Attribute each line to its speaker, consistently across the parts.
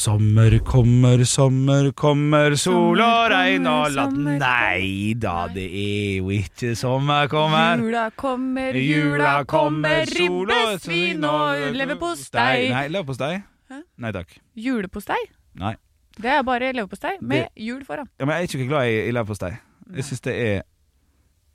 Speaker 1: Sommer kommer, sommer kommer, sol og regn og land. Nei da, det er jo ikke sommer kommer.
Speaker 2: Jula kommer,
Speaker 1: Jula kommer, sol og
Speaker 2: ribbe, svin og leverpostei.
Speaker 1: Nei, leverpostei. Nei takk.
Speaker 2: Julepostei?
Speaker 1: Nei.
Speaker 2: Det er bare leverpostei med jul foran.
Speaker 1: Ja, men jeg er ikke glad i, i leverpostei. Jeg syns det er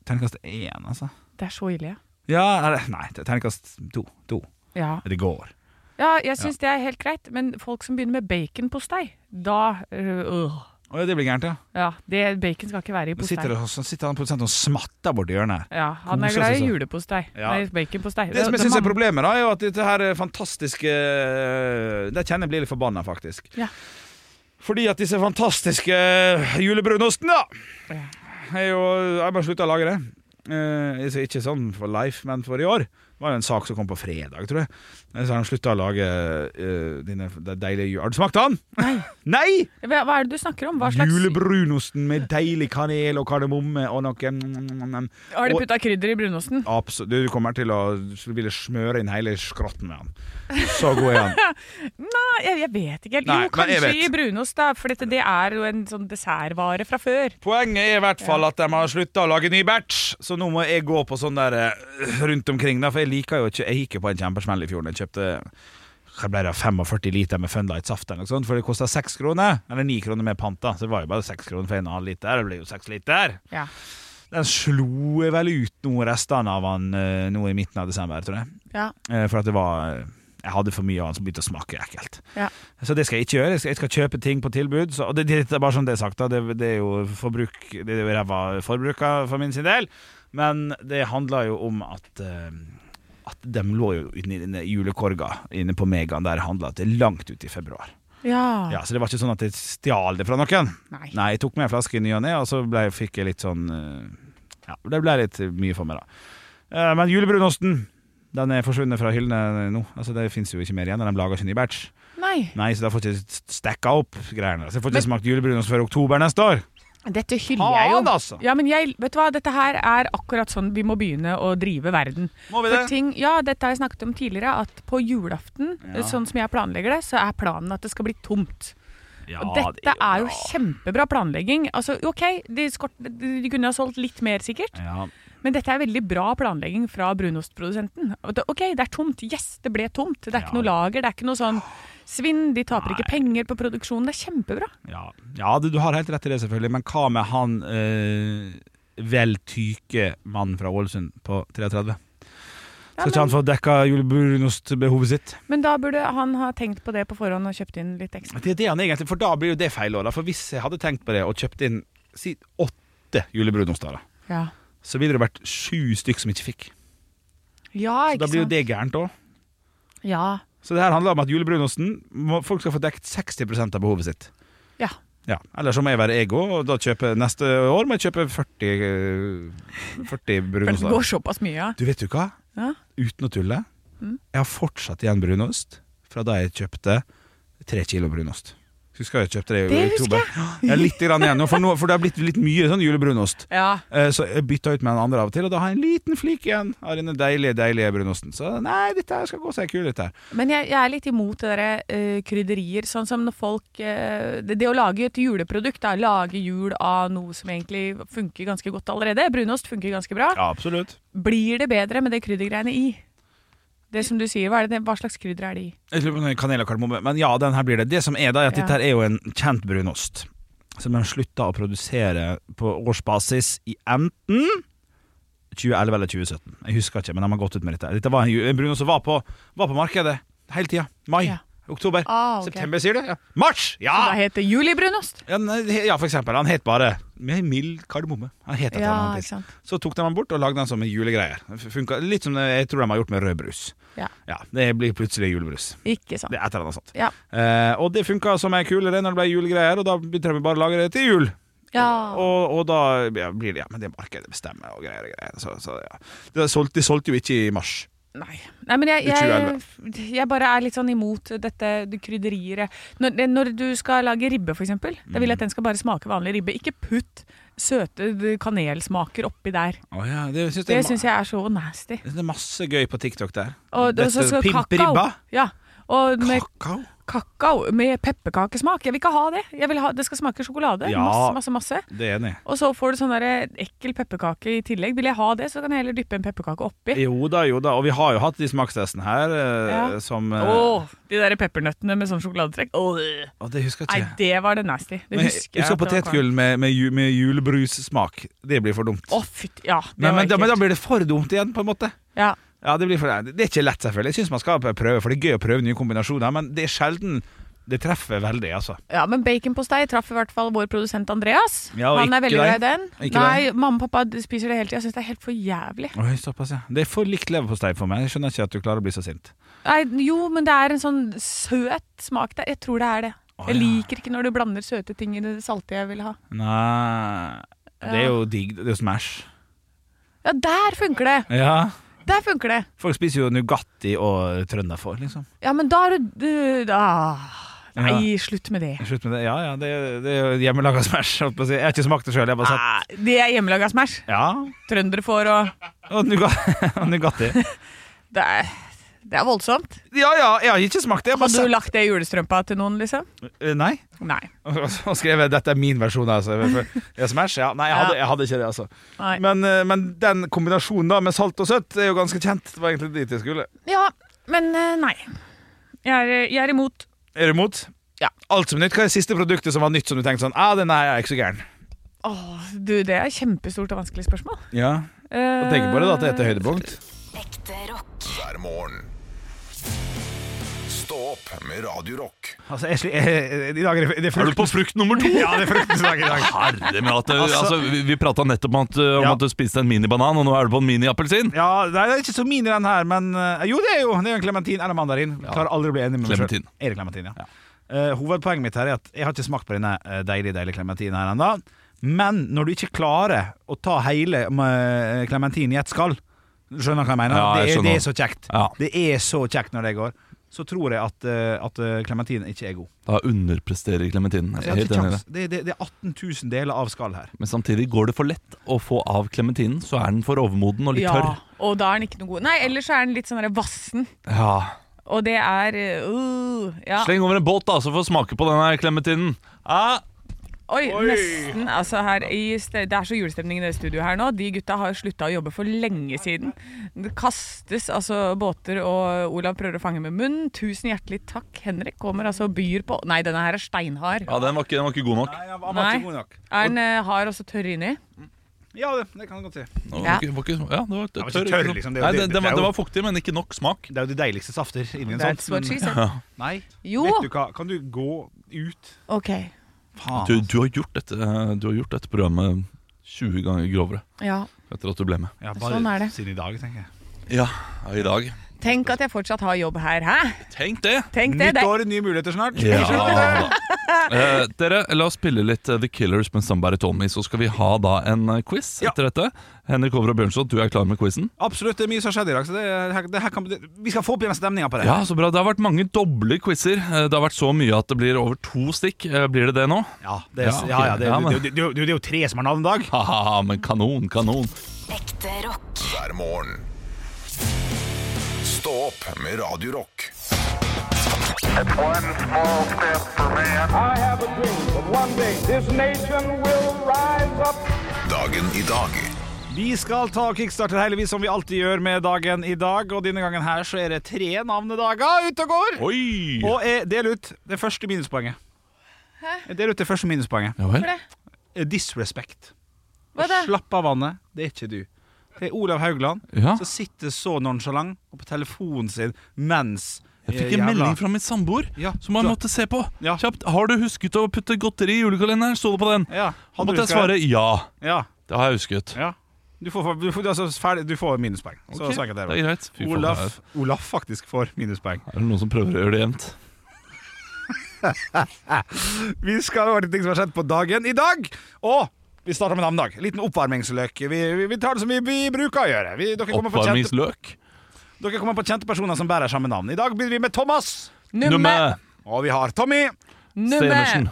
Speaker 1: terningkast én, altså.
Speaker 2: Det er så ille, ja.
Speaker 1: Ja, eller nei, det er terningkast to. To.
Speaker 2: Ja,
Speaker 1: Det går.
Speaker 2: ja jeg syns det er helt greit, men folk som begynner med baconpostei, da øh,
Speaker 1: Å ja, det blir gærent, ja.
Speaker 2: Ja, det, bacon skal ikke være i
Speaker 1: Nå sitter,
Speaker 2: postei.
Speaker 1: det- så sitter han produsenten og smatter borti hjørnet her.
Speaker 2: Ja, han er
Speaker 1: Koser
Speaker 2: glad
Speaker 1: seg
Speaker 2: i
Speaker 1: så.
Speaker 2: julepostei.
Speaker 1: Ja.
Speaker 2: Nei, baconpostei.
Speaker 1: Det som jeg synes er
Speaker 2: man-
Speaker 1: problemet, da, er jo at dette her fantastiske Det kjenner jeg blir litt forbanna, faktisk.
Speaker 2: Ja.
Speaker 1: Fordi at disse fantastiske eh, julebrunostene, da,
Speaker 2: Ja.
Speaker 1: er jo Jeg bare slutta å lage det. Eh, altså, ikke sånn for life, men for i år. Det var jo en sak som kom på fredag, tror jeg. Så har de slutta å lage eh, dine de deilige jul... Har du smakt den?
Speaker 2: Nei.
Speaker 1: Nei!
Speaker 2: Hva, hva er det du snakker om? Hva slags
Speaker 1: Julebrunosten med deilig kanel og kardemomme og noen
Speaker 2: Har de putta krydder i brunosten?
Speaker 1: Absolutt. Du kommer til å ville smøre inn hele skrotten med han. Så god er han.
Speaker 2: Nei, jeg, jeg vet ikke helt.
Speaker 1: Nei,
Speaker 2: Jo,
Speaker 1: men jeg
Speaker 2: kanskje
Speaker 1: vet.
Speaker 2: i brunost, da. For dette, det er jo en sånn dessertvare fra før.
Speaker 1: Poenget er i hvert fall at de har slutta å lage ny batch, så nå må jeg gå på sånn der eh, rundt omkring, da, for jeg liker jo ikke Jeg gikk jo på en kjempesmell i fjor. Jeg kjøpte hva ble det, 45 liter med Funlight saft, eller noe sånt, for det kosta seks kroner. Eller ni kroner med pant, da. Så det var jo bare seks kroner for en halv liter. Det ble jo seks liter.
Speaker 2: Ja.
Speaker 1: Den slo jeg vel ut noen restene av han eh, nå i midten av desember, tror jeg.
Speaker 2: ja.
Speaker 1: Eh, For at det var Jeg hadde for mye av den som begynte å smake ekkelt.
Speaker 2: Ja.
Speaker 1: Så det skal jeg ikke gjøre. Jeg skal, jeg skal kjøpe ting på tilbud. Så, og det, det er bare sånn det er sagt, da. Det, det er jo forbruk Det er jo ræva forbruker for min sin del. Men det handler jo om at eh, at de lå jo inni denne julekorga inne på Megan der jeg handla til langt ut i februar.
Speaker 2: Ja.
Speaker 1: Ja, så det var ikke sånn at jeg stjal det fra noen.
Speaker 2: Nei.
Speaker 1: Nei, jeg tok med en flaske i ny og ne, og så ble, fikk jeg litt sånn eh, Ja, det ble litt mye for meg, da. Eh, Men julebrunosten den er forsvunnet fra hyllene nå. Altså Det fins jo ikke mer igjen. og De lager ikke ny batch.
Speaker 2: Nei.
Speaker 1: Nei, Så da får jeg ikke stacka opp greiene. Så Jeg får ikke
Speaker 2: Men-
Speaker 1: smakt julebrunost før oktober neste år.
Speaker 2: Dette hyller jeg jo.
Speaker 1: Faen, altså!
Speaker 2: Ja, men jeg, vet du hva, dette her er akkurat sånn vi må begynne å drive verden.
Speaker 1: Må vi
Speaker 2: For
Speaker 1: det?
Speaker 2: ting, ja, dette har jeg snakket om tidligere, at på julaften,
Speaker 1: Ja.
Speaker 2: sånn som jeg planlegger det, så er planen at det skal bli tomt.
Speaker 1: Ja,
Speaker 2: Og
Speaker 1: det
Speaker 2: dette er jo
Speaker 1: bra.
Speaker 2: kjempebra planlegging. Altså, ok, de, skort, de kunne ha solgt litt mer sikkert,
Speaker 1: Ja.
Speaker 2: men dette er veldig bra planlegging fra brunostprodusenten. Og det- Ok, det er tomt. Yes, det ble tomt. Det er
Speaker 1: Ja.
Speaker 2: ikke noe lager, det er ikke noe sånn svinn, de taper ikke penger på produksjonen. Det er kjempebra.
Speaker 1: Ja, ja du, du har helt rett i det selvfølgelig Men hva med han eh, vel tyke mannen fra Ålesund på 33? Skal ikke han få dekka julebrunostbehovet sitt?
Speaker 2: Men da burde han ha tenkt på det på forhånd og kjøpt inn litt ekstra.
Speaker 1: Det er det han egentlig, for da blir jo det feil år da. For hvis jeg hadde tenkt på det og kjøpt inn si, åtte julebrunoster da,
Speaker 2: Ja,
Speaker 1: Så ville det vært sju stykk som ikke fikk
Speaker 2: ja
Speaker 1: Så
Speaker 2: ikke
Speaker 1: da blir jo
Speaker 2: sant?
Speaker 1: det gærent også
Speaker 2: Ja.
Speaker 1: Så det her handler om at julebrunosten må, Folk skal få dekt 60% av behovet sitt
Speaker 2: ja.
Speaker 1: ja, Eller så må jeg være ego Og da kjøpe neste år må jeg kjøpe 40, eh, 40
Speaker 2: For det går
Speaker 1: brunoster
Speaker 2: såpass mye, ja.
Speaker 1: Du vet jo hva?
Speaker 2: ja.
Speaker 1: uten å tulle, jeg har fortsatt igjen brunost fra da jeg kjøpte tre kilo brunost. Husker jeg kjøpte det i
Speaker 2: Det husker
Speaker 1: oktober? Jeg har litt grann igjen nå, for, nå, for det har blitt litt mye sånn julebrunost.
Speaker 2: Ja.
Speaker 1: Eh, Så jeg bytta ut med en andre av og til, og da har jeg en liten flik igjen av denne deilige deilige brunosten. Så nei, dette her skal gå seg kult, dette her.
Speaker 2: Men jeg, jeg er litt imot det derre eh, krydderier. Sånn som når folk eh, det, det å lage et juleprodukt, da. Lage jul av noe som egentlig funker ganske godt allerede. Brunost funker ganske bra.
Speaker 1: Ja, absolutt.
Speaker 2: Blir det bedre med det kryddergreiene i? Det som du sier, hva, er det, hva slags krydder er det i?
Speaker 1: Jeg lurer på om det er Kanel og kardemomme. Men ja, den her blir det. Det som er da, er at
Speaker 2: Ja.
Speaker 1: dette her er jo en kjent brunost. Som de slutta å produsere på årsbasis i enten 2011 eller 2017. Jeg husker ikke, men de har gått ut med dette. Dette var en ju- en brunost som var på, var på markedet hele tida. Mai,
Speaker 2: Ja.
Speaker 1: oktober,
Speaker 2: Ah, ok.
Speaker 1: september, sier du? Ja. Mars! Ja!
Speaker 2: Det heter julibrunost!
Speaker 1: Ja, nei, ja, for eksempel. Han het bare Med mild kardemomme. Han het etter
Speaker 2: Ja,
Speaker 1: noe
Speaker 2: ikke sant.
Speaker 1: Så tok de den bort og lagde den som en julegreier. Funka litt som det jeg tror de har gjort med rødbrus.
Speaker 2: Ja.
Speaker 1: Ja, det blir plutselig julebrus.
Speaker 2: Ikke sant.
Speaker 1: Det er et eller annet sånt.
Speaker 2: Ja.
Speaker 1: Eh, og det funka som ei kule det når det ble julegreier, og da begynte vi bare å lage det til jul.
Speaker 2: ja.
Speaker 1: Og, og da ja, blir det ja, men det markedet bestemmer og greier og greier. Så, så ja. De solgte, de solgte jo ikke i mars.
Speaker 2: Nei. Nei, men jeg,
Speaker 1: I
Speaker 2: jeg, jeg bare er litt sånn imot dette det krydderiet. Når, det- når du skal lage ribbe, f.eks., da
Speaker 1: Mm.
Speaker 2: vil jeg at den skal bare smake vanlig ribbe. Ikke putt søte d- kanelsmaker oppi der.
Speaker 1: Å ja, det syns
Speaker 2: Det
Speaker 1: jeg,
Speaker 2: syns jeg er så nasty.
Speaker 1: det er masse gøy på TikTok der.
Speaker 2: Og, og
Speaker 1: Dette
Speaker 2: så skal
Speaker 1: pimperibba.
Speaker 2: kakao. Ja. Og med
Speaker 1: Kakao?
Speaker 2: kakao med pepperkakesmak. Jeg vil ikke ha det. Jeg vil ha, det skal smake sjokolade.
Speaker 1: Ja.
Speaker 2: Masse, masse, masse.
Speaker 1: Det er jeg enig i.
Speaker 2: Og så får du sånn der ekkel pepperkake i tillegg. Vil jeg ha det, så kan jeg heller dyppe en pepperkake oppi.
Speaker 1: Jo da, jo da. Og vi har jo hatt de smakstestene her eh,
Speaker 2: Ja.
Speaker 1: som
Speaker 2: Åh,
Speaker 1: eh,
Speaker 2: de der peppernøttene med sånn sjokoladetrekk. Åh.
Speaker 1: å, Det husker
Speaker 2: Nei,
Speaker 1: jeg ikke.
Speaker 2: det var det nasty. Det
Speaker 1: Men jeg
Speaker 2: husker jeg.
Speaker 1: husker
Speaker 2: at det var
Speaker 1: potetgull med, med, ju- med julebrussmak. Det blir for dumt.
Speaker 2: kvalmt. Å, fytti. Ja, det
Speaker 1: men,
Speaker 2: var
Speaker 1: men, da, men da
Speaker 2: ekkelt.
Speaker 1: blir det for dumt igjen, på en måte.
Speaker 2: Ja.
Speaker 1: Ja, Det blir for det er ikke lett, selvfølgelig. Jeg syns man skal prøve, for det er gøy å prøve nye kombinasjoner, men det er sjelden det treffer veldig, altså.
Speaker 2: ja, men baconpostei traff i hvert fall vår produsent Andreas.
Speaker 1: Ja, og
Speaker 2: Han er
Speaker 1: ikke
Speaker 2: veldig glad i
Speaker 1: deg.
Speaker 2: den.
Speaker 1: Ikke
Speaker 2: Nei, mamma og pappa spiser det hele tida. Jeg syns det er helt for jævlig.
Speaker 1: Oi, såpass, ja. Det er for likt leverpostei for meg. Jeg skjønner ikke at du klarer å bli så sint.
Speaker 2: Nei, jo, men det er en sånn søt smak der. Jeg tror det er det.
Speaker 1: Å,
Speaker 2: Jeg
Speaker 1: ja.
Speaker 2: liker ikke når du blander søte ting i det salte jeg vil ha.
Speaker 1: Nei Det er
Speaker 2: Ja.
Speaker 1: jo digg. Det er jo Smash.
Speaker 2: Ja, der funker det!
Speaker 1: Ja.
Speaker 2: Der funker det!
Speaker 1: Folk spiser jo Nugatti og trønderfår, liksom.
Speaker 2: Ja, men da er du du- ah. Nei, slutt med det.
Speaker 1: Slutt med det. Ja ja, det, det er jo hjemmelaga Smash. holdt på å si. Jeg har ikke smakt det sjøl, jeg har bare sett
Speaker 2: Ah, Det er hjemmelaga Smash.
Speaker 1: Ja.
Speaker 2: Trønderfår og
Speaker 1: Og Nuga- og Nugatti.
Speaker 2: Det er, det er voldsomt.
Speaker 1: Ja ja, jeg har ikke smakt det. Jeg har
Speaker 2: Hadde
Speaker 1: bare
Speaker 2: du lagt det i julestrømpa til noen, liksom?
Speaker 1: sett Eh, Nei.
Speaker 2: Nei.
Speaker 1: Og så skrev jeg 'dette er min versjon'. Altså. Jeg Smash? Ja. Nei, jeg hadde, jeg hadde ikke det. altså
Speaker 2: Nei.
Speaker 1: men, eh, men den kombinasjonen da med salt og søtt er jo ganske kjent. Det var egentlig dit jeg skulle.
Speaker 2: Ja, men eh, nei. Jeg er, jeg er imot.
Speaker 1: Er du imot?
Speaker 2: Ja.
Speaker 1: Alt som er nytt. Hva er det siste produktet som var nytt som du tenkte sånn ah, den her er ikke så gæren?
Speaker 2: Åh, du, det er kjempestort og vanskelig spørsmål.
Speaker 1: Ja,
Speaker 2: Eh,
Speaker 1: og tenk på det da, at det heter høydepunkt.
Speaker 3: Ekte rock.
Speaker 4: hver morgen. Stå opp med Radio Rock.
Speaker 1: Altså, jeg, sli- eh, i dag er det, det er
Speaker 5: Er du
Speaker 1: frukt.
Speaker 5: på frukt nummer to?
Speaker 1: Ja, det er fruktens dag i dag.
Speaker 5: Herre med at det, altså,
Speaker 1: Altså-
Speaker 5: Vi, vi prata nettopp om, at, uh, om
Speaker 1: Ja.
Speaker 5: at du spiste en minibanan, og nå er du på en miniappelsin.
Speaker 1: Ja, det er ikke så min i den her, men eh, Jo, det er jo det er jo en klementin eller mandarin. Jeg klarer aldri å bli enig med meg selv.
Speaker 5: Clementin.
Speaker 1: Er det klementin, ja. Eh, hovedpoenget mitt her er at jeg har ikke smakt på denne eh, deilige, deilige klementinen her ennå. Men når du ikke klarer å ta hele eh, klementinen i ett skall Skjønner du hva jeg mener?
Speaker 5: Ja, jeg
Speaker 1: det, er, det er så
Speaker 5: skjønner.
Speaker 1: kjekt.
Speaker 5: Ja.
Speaker 1: Det er så kjekt når det går. Så tror jeg at, eh, at eh, klementinen ikke er god.
Speaker 5: Da underpresterer klementinen.
Speaker 1: Jeg har
Speaker 5: Helt
Speaker 1: ikke
Speaker 5: enig i det.
Speaker 1: kjangs. det, det, det er 18 000 deler av skall her.
Speaker 5: Men samtidig går det for lett å få av klementinen, så er den for overmoden og litt
Speaker 2: Ja,
Speaker 5: tørr.
Speaker 2: og da er den ikke noe god. Nei, ellers er den litt sånn der vassen.
Speaker 5: Ja.
Speaker 2: Og det er eh, uh, ja.
Speaker 5: Sleng over en båt, da, så får du smake på denne Ah, klementinen. Ja.
Speaker 2: Oi, nesten. Altså her i ste- det er så julestemning i det studioet her nå. De gutta har slutta å jobbe for lenge siden. Det kastes altså båter, og Olav prøver å fange med munnen. Tusen hjertelig takk, Henrik. Kommer altså og byr på Nei, denne her er steinhard.
Speaker 5: ja, den var, ikke, den var ikke god nok.
Speaker 1: Nei, han var
Speaker 2: Nei.
Speaker 1: ikke god nok.
Speaker 2: Er den eh, hard og så tørr inni?
Speaker 1: Ja, det, det kan jeg godt si.
Speaker 5: Den var
Speaker 2: Ja.
Speaker 5: ikke, var ikke, ja, det var,
Speaker 1: var ikke tørr,
Speaker 5: tørr, ikke noe-
Speaker 1: liksom. Det er jo-
Speaker 5: Nei,
Speaker 1: det-
Speaker 5: den,
Speaker 1: det er
Speaker 5: den, var, den
Speaker 1: jo-
Speaker 5: var fuktig, men ikke nok smak.
Speaker 1: Det er jo de deiligste safter inni en sånn.
Speaker 2: That's what she said.
Speaker 1: Nei.
Speaker 2: Jo.
Speaker 1: Vet du hva, kan du gå ut?
Speaker 2: Ok.
Speaker 1: Faen. altså.
Speaker 5: Du, du, har gjort dette, du har gjort dette programmet 20 ganger grovere
Speaker 2: Ja.
Speaker 5: etter at du ble med.
Speaker 1: Ja,
Speaker 2: Sånn er det.
Speaker 1: Siden i dag, tenker jeg.
Speaker 5: Ja, i dag.
Speaker 2: Tenk at jeg fortsatt har jobb her, hæ?
Speaker 5: Tenk det!
Speaker 2: Tenk det.
Speaker 1: Nytt
Speaker 2: det.
Speaker 1: år, nye muligheter snart.
Speaker 5: Ja, da. Eh, dere, la oss spille litt eh, The Killers med Somebody Told Me. Så skal vi ha da en eh, quiz
Speaker 1: Ja.
Speaker 5: etter dette. Henrik Over og Bjørnson, du er klar med quizen?
Speaker 1: Absolutt, det er mye som har skjedd i dag. Så det, her, det her kan, det, vi skal få opp igjen stemninga på det.
Speaker 5: Ja, så bra. Det har vært mange doble quizer. Eh, Det har vært så mye at det blir over to stikk. Eh, Blir det det nå?
Speaker 1: Ja, det, er-
Speaker 5: Ja, ok.
Speaker 1: ja, ja, det,
Speaker 5: Ja, men-
Speaker 1: det, det, det, det, det er jo tre som har navnedag.
Speaker 5: Ha-ha, men kanon, kanon.
Speaker 3: Ekte rock.
Speaker 4: hver morgen. Stå opp med Radio Rock.
Speaker 6: One small step for man. I have a dream that one day this nation will rise up.
Speaker 4: Dagen i dag.
Speaker 1: Vi skal ta kickstarter hele vi som vi alltid gjør med dagen i dag. Og denne gangen her så er det tre navnedager ute og går.
Speaker 5: Oi!
Speaker 1: Og jeg deler ut det første minuspoenget. Jeg deler ut det første minuspoenget.
Speaker 5: Ja vel.
Speaker 1: Eh, Disrespect.
Speaker 2: Hva da?
Speaker 1: Slapp av vannet, det er ikke du. Det er Olav Haugland
Speaker 5: Ja.
Speaker 1: som sitter så nonchalant og på telefonen sin mens eh,
Speaker 5: Jeg fikk en melding fra min samboer
Speaker 1: Ja,
Speaker 5: som jeg
Speaker 1: da-
Speaker 5: måtte se på.
Speaker 1: Ja.
Speaker 5: Kjapt. Har du husket å putte godteri i julekalenderen? Sto det på den.
Speaker 1: Ja,
Speaker 5: Da
Speaker 1: hadde
Speaker 5: måtte
Speaker 1: du
Speaker 5: jeg
Speaker 1: skal-
Speaker 5: svare ja.
Speaker 1: Ja,
Speaker 5: Det har jeg husket.
Speaker 1: ja. Du får, du får, du er altså ferdig, du får minuspoeng. Så,
Speaker 5: Ok,
Speaker 1: så enkelt er
Speaker 5: det er greit. Fy faen, det
Speaker 1: Olaf, Olaf faktisk får minuspoeng.
Speaker 5: Er det noen som prøver å gjøre det jevnt?
Speaker 1: Vi skal over til ting som har skjedd på dagen i dag. Og vi starter med navnedag. Liten oppvarmingsløk. Vi, vi, vi tar det som vi, vi bruker å gjøre. Vi, dere kommer på kjente-
Speaker 5: Oppvarmingsløk?
Speaker 1: Dere kommer på kjente personer som bærer samme navn. I dag begynner vi med Thomas.
Speaker 5: Nummer
Speaker 1: Og vi har Tommy.
Speaker 5: Stenersen.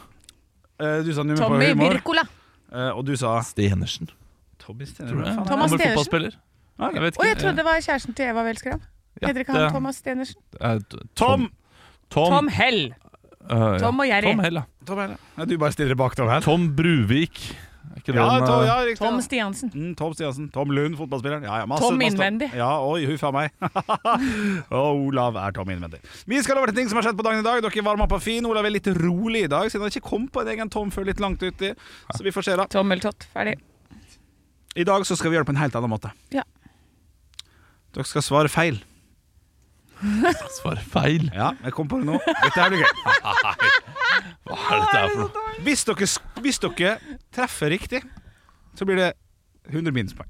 Speaker 1: Eh, Du sa nummer
Speaker 2: Tommy
Speaker 1: på humor.
Speaker 2: Wirkola.
Speaker 1: Eh, Og du sa
Speaker 5: Stenersen.
Speaker 1: Tommy
Speaker 5: Tror jeg.
Speaker 2: Thomas
Speaker 5: Gammel
Speaker 2: Stenersen?
Speaker 5: fotballspiller.
Speaker 1: Ok.
Speaker 5: Jeg vet
Speaker 2: Å, jeg
Speaker 5: ikke.
Speaker 2: trodde det var kjæresten til Eva Welskram.
Speaker 5: Ja,
Speaker 2: Heter ikke
Speaker 5: det
Speaker 2: han
Speaker 5: er-
Speaker 2: Thomas Stenersen?
Speaker 5: Eh,
Speaker 1: Tom.
Speaker 5: Tom,
Speaker 2: Tom Hell.
Speaker 5: eh, ja.
Speaker 2: Tom og Jerry.
Speaker 5: Tom, Hell, ja.
Speaker 1: Tom er det. Ja, du bare stiller bak Tom her.
Speaker 5: Tom Bruvik. Er ikke det
Speaker 1: Ja,
Speaker 5: en,
Speaker 1: Tom,
Speaker 5: eh,
Speaker 1: ja, riktig.
Speaker 2: Tom Stiansen.
Speaker 1: Mm, Tom Stiansen. Tom Lund, fotballspilleren. Ja, ja, masse,
Speaker 2: Tom
Speaker 1: masse-
Speaker 2: innvendig.
Speaker 1: Ja, oi, huff a meg. og Olav er Tom innvendig. Vi skal over til ting som har skjedd på dagen i dag. Dere varmer opp på fin. Olav er litt rolig i dag, siden han ikke kom på en egen Tom før litt langt uti. Så vi får se, da.
Speaker 2: Tommeltott. Ferdig.
Speaker 1: I dag så skal vi gjøre det på en helt annen måte.
Speaker 2: Ja.
Speaker 1: Dere skal svare feil.
Speaker 5: Svar feil.
Speaker 1: Ja, jeg kom på det nå. Dette her blir gøy.
Speaker 5: Hva er dette her for noe?
Speaker 1: Hvis dere, hvis dere treffer riktig, så blir det 100 minuspoeng.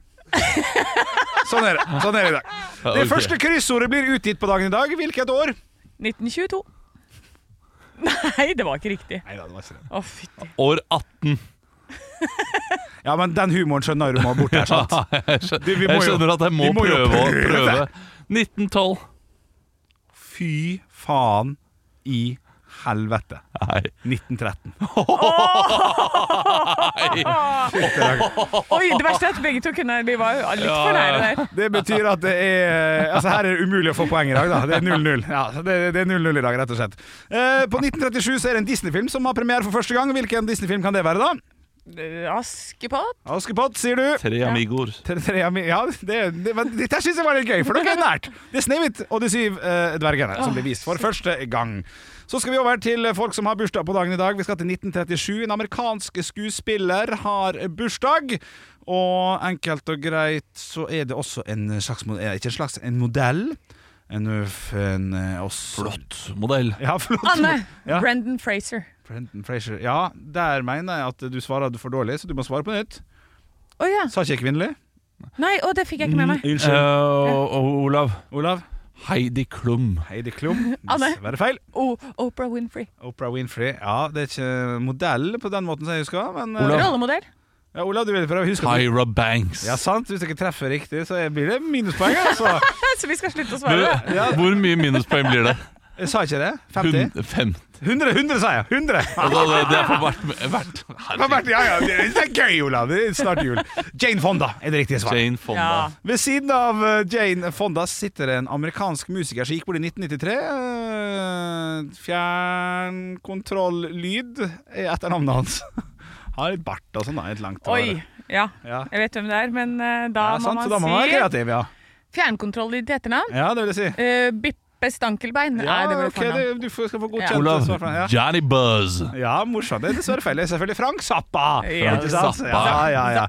Speaker 1: Sånn er det. Sånn er det i dag.
Speaker 5: Ja,
Speaker 1: Det
Speaker 5: ok.
Speaker 1: første kryssordet blir utgitt på dagen i dag. Hvilket år?
Speaker 2: 1922. Nei, det var ikke riktig.
Speaker 1: Nei da, det var ikke det.
Speaker 2: Å, fytti.
Speaker 5: År 18.
Speaker 1: Ja, men den humoren skjønner du må ha bort her, sant?
Speaker 5: Jeg skjønner,
Speaker 1: Du, vi må
Speaker 5: jeg
Speaker 1: jo-
Speaker 5: skjønner at jeg må,
Speaker 1: vi må jo
Speaker 5: prøve å
Speaker 1: prøve.
Speaker 5: prøve. 1912.
Speaker 1: Fy faen i helvete.
Speaker 5: Nei.
Speaker 1: 1913.
Speaker 2: Oi, det verste er at begge to kunne Vi var jo litt
Speaker 5: Ja,
Speaker 2: for nære der.
Speaker 1: Det betyr at det er Altså, her er det umulig å få poeng i dag, da. Det er 0-0. Ja, det, det er 0-0 i dag, rett og slett. Eh, på 1937 så er det en Disney-film som har premiere for første gang. Hvilken Disney-film kan det være, da?
Speaker 2: Askepott?
Speaker 1: Askepott, sier du.
Speaker 5: Tre amigor.
Speaker 1: Tre- tre av mi- Ja, det, det, men dette syns jeg var litt gøy, for dere er nært. Det er Snehvit og de syv eh, dvergene som blir vist for første gang. Så skal vi over til eh, folk som har bursdag på dagen i dag. Vi skal til 1937. En amerikansk skuespiller har bursdag. Og enkelt og greit så er det også en slags mo- eh, Ikke en slags, en modell. En, ø, f- en ø, også,
Speaker 5: Flott modell.
Speaker 1: Ja, flott.
Speaker 2: Anne.
Speaker 1: Ja.
Speaker 2: Brendan Fraser.
Speaker 1: Brendan Fraser. Ja, der mener jeg at du svarer for dårlig, så du må svare på nytt.
Speaker 2: Å ja.
Speaker 1: Sa ikke jeg kvinnelig?
Speaker 2: Nei, å, det fikk jeg ikke med meg.
Speaker 5: Eh, og- og Olav.
Speaker 1: Olav?
Speaker 5: Heidi Klum.
Speaker 1: Heidi Klum.
Speaker 2: Anne.
Speaker 1: Dessverre feil.
Speaker 2: Oh, Oprah Winfrey.
Speaker 1: Oprah Winfrey. Ja, det er ikke modell på den måten som jeg husker. Men, eh,
Speaker 5: Olav.
Speaker 2: Rollemodell.
Speaker 1: Ja, Olav, du vil prøve å huske det.
Speaker 5: Tyra Banks.
Speaker 1: Ja, sant. Hvis dere treffer riktig, så blir det minuspoeng. Altså.
Speaker 2: Så vi skal slutte å
Speaker 5: Du,
Speaker 2: svare. da.
Speaker 5: Hvor mye minuspoeng blir det?
Speaker 1: Jeg sa ikke det? 50?
Speaker 5: 150.
Speaker 1: 100, 100 sa jeg! 100!
Speaker 5: Altså, det, det er for hvert, hvert.
Speaker 1: Ja, men, ja, ja, det det er gøy, Olav. Det er snart jul. Jane Fonda er det riktige svaret.
Speaker 5: Jane Fonda.
Speaker 2: Ja.
Speaker 1: Ved siden av eh, Jane Fonda sitter det en amerikansk musiker som gikk bort i 1993. Eh, Fjern kontroll-lyd er etternavnet hans. Han har litt bart og sånn, da. Litt langt hår.
Speaker 2: Oi. Ja,
Speaker 1: Ja.
Speaker 2: jeg vet hvem det er, men eh, da
Speaker 1: Ja,
Speaker 2: må
Speaker 1: sant, så da
Speaker 2: man
Speaker 1: må man være
Speaker 2: si
Speaker 1: kreativ, ja.
Speaker 2: fjernkontroll i etternavn.
Speaker 1: Ja, det vil jeg si.
Speaker 2: Eh, Bippe Stankelbein.
Speaker 1: Ja,
Speaker 2: Nei, det var
Speaker 1: ok,
Speaker 2: fornavn.
Speaker 1: det- du får- skal få godkjent
Speaker 2: Ja.
Speaker 5: Olav,
Speaker 1: svar fra- ja.
Speaker 5: Johnny Buzz.
Speaker 1: Ja, morsomt. Det er dessverre feil. Det er Selvfølgelig Frank Zappa.
Speaker 2: Ja,
Speaker 1: Ikke sant?
Speaker 5: Zappa.
Speaker 1: Ja, ja, ja.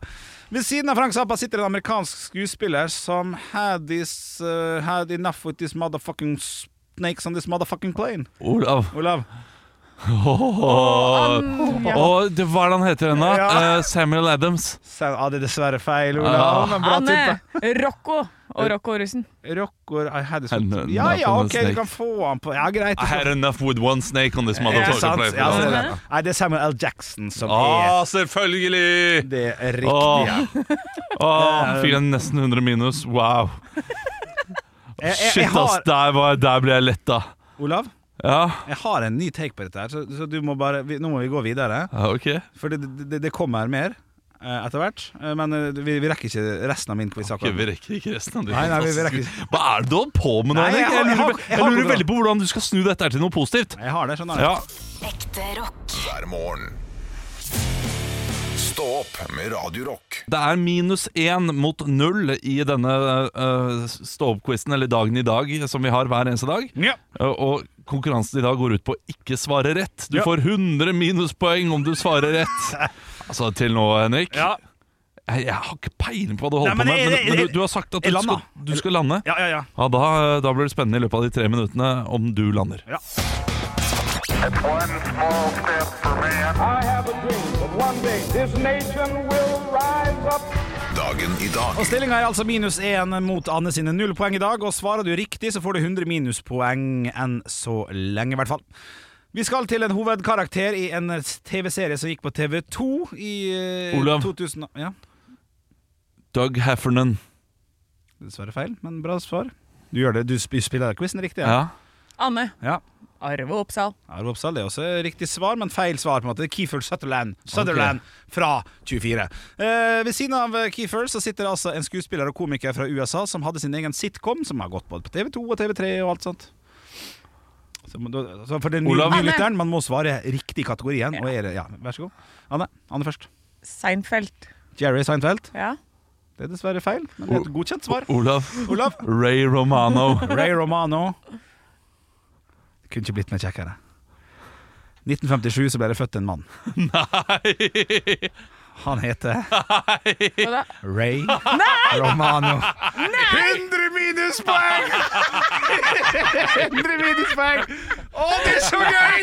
Speaker 1: Ved siden av Frank Zappa sitter en amerikansk skuespiller som had, this, uh, had enough with this motherfucking snakes on this motherfucking plane.
Speaker 5: Olav.
Speaker 1: Olav.
Speaker 5: Åh,
Speaker 2: ja.
Speaker 5: Åh, det, hva er det han heter ennå?
Speaker 1: Ja.
Speaker 5: Eh, Samuel Adams.
Speaker 1: Sa- Ja, det er dessverre feil,
Speaker 5: Ah.
Speaker 1: Olav. Men bra
Speaker 2: Anne.
Speaker 1: tippe.
Speaker 2: Rocco og Rocco Russen.
Speaker 1: Rocker I had this
Speaker 5: And, uh,
Speaker 1: Ja, ja,
Speaker 5: nothing
Speaker 1: OK,
Speaker 5: snake. Ah,
Speaker 1: du kan få han på. Ja, greit.
Speaker 5: I had enough with one snake on this
Speaker 1: Ikke sant?
Speaker 5: motherfucker.
Speaker 1: Ja, så er
Speaker 5: Ja,
Speaker 1: det. Nei, det er Samuel L. Jackson som er
Speaker 5: ah, selvfølgelig!
Speaker 1: det
Speaker 5: Åh.
Speaker 1: riktige.
Speaker 5: Åh, fikk jeg nesten 100 minus. Wow.
Speaker 1: Jeg, jeg, jeg
Speaker 5: Shit, ass.
Speaker 1: har,
Speaker 5: Der, var, der ble jeg letta.
Speaker 1: Olav?
Speaker 5: Ja,
Speaker 1: Jeg har en ny take på dette, her så, så du må bare, vi, nå må vi gå videre.
Speaker 5: ja, ok.
Speaker 1: For det, det, det kommer mer eh, etter hvert. eh, Men eh, vi, vi rekker ikke resten av min quiz
Speaker 5: Ok,
Speaker 1: akkurat.
Speaker 5: Vi rekker ikke resten av de
Speaker 1: Nei, nei, vi rekker
Speaker 5: fantastiske- Hva er det du holder på med nå,
Speaker 1: Nei, jeg
Speaker 5: Henrik?
Speaker 1: har- jeg
Speaker 5: Jeg
Speaker 1: har-
Speaker 5: lurer,
Speaker 1: jeg
Speaker 5: jeg
Speaker 1: har
Speaker 5: lurer
Speaker 1: kontroll.
Speaker 5: veldig på hvordan du skal snu dette her til noe positivt.
Speaker 1: Jeg har det, skjønner du.
Speaker 5: Ja,
Speaker 3: Ekte rock.
Speaker 4: hver morgen. Stå opp med Radio Rock.
Speaker 5: Det er minus én mot null i denne uh, stå-opp-quizen, eller dagen i dag, som vi har hver eneste dag.
Speaker 1: Ja.
Speaker 5: Eh, og konkurransen i dag går ut på å ikke svare rett. Du
Speaker 1: Ja.
Speaker 5: får 100 minuspoeng om du svarer rett. altså, til nå, Henrik.
Speaker 1: Ja.
Speaker 5: Jeg, jeg har ikke peiling på hva du
Speaker 1: Nei,
Speaker 5: holder
Speaker 1: men
Speaker 5: på med,
Speaker 1: jeg-
Speaker 5: men,
Speaker 1: jeg-
Speaker 5: men
Speaker 1: jeg-
Speaker 5: du, du har sagt at
Speaker 1: jeg
Speaker 5: du
Speaker 1: lander.
Speaker 5: skal, du skal lande.
Speaker 1: Ja, ja, ja.
Speaker 5: Ja, da, da blir det spennende i løpet av de tre minuttene om du lander.
Speaker 6: It's one small step for man.
Speaker 7: I have a dream that one day this nation will rise up.
Speaker 4: Dagen i dag
Speaker 1: Og Stillinga er altså minus én mot Anne sine null poeng i dag. Og svarer du riktig, så får du 100 minuspoeng enn så lenge, i hvert fall. Vi skal til en hovedkarakter i en TV-serie som gikk på TV2 i eh,
Speaker 5: Olav.
Speaker 1: 2000 Ja,
Speaker 5: Doug Heffernan.
Speaker 1: dessverre feil, men bra svar. Du gjør det, du sp- spiller quizen riktig?
Speaker 5: Ja.
Speaker 2: Anne
Speaker 1: ja.
Speaker 2: Arve Oppsal.
Speaker 1: Arve Oppsal det er også riktig svar, men feil svar. på en måte Keefer Sutherland, Sutherland fra 24. Eh, ved siden av Keefer så sitter altså en skuespiller og komiker fra USA som hadde sin egen sitcom, som har gått både på TV2 og TV3 og alt sånt. Så, må du- så for den nye
Speaker 5: Olav.
Speaker 1: nye lytteren, man må svare riktig kategori igjen. Og er, det- ja, vær så god. Anne, Anne først.
Speaker 2: Seinfeld.
Speaker 1: Jerry Seinfeld.
Speaker 2: Ja.
Speaker 1: Det er dessverre feil, men det er et godkjent svar.
Speaker 5: Olav.
Speaker 1: Olav.
Speaker 5: Ray Romano.
Speaker 1: Ray Romano. Det kunne ikke blitt mer kjekkere. 1957 så ble det født en mann.
Speaker 5: Nei!
Speaker 1: Han heter
Speaker 2: Og da,
Speaker 1: Ray Romano. 100 minuspoeng! 100 minuspoeng! Å, det er så gøy!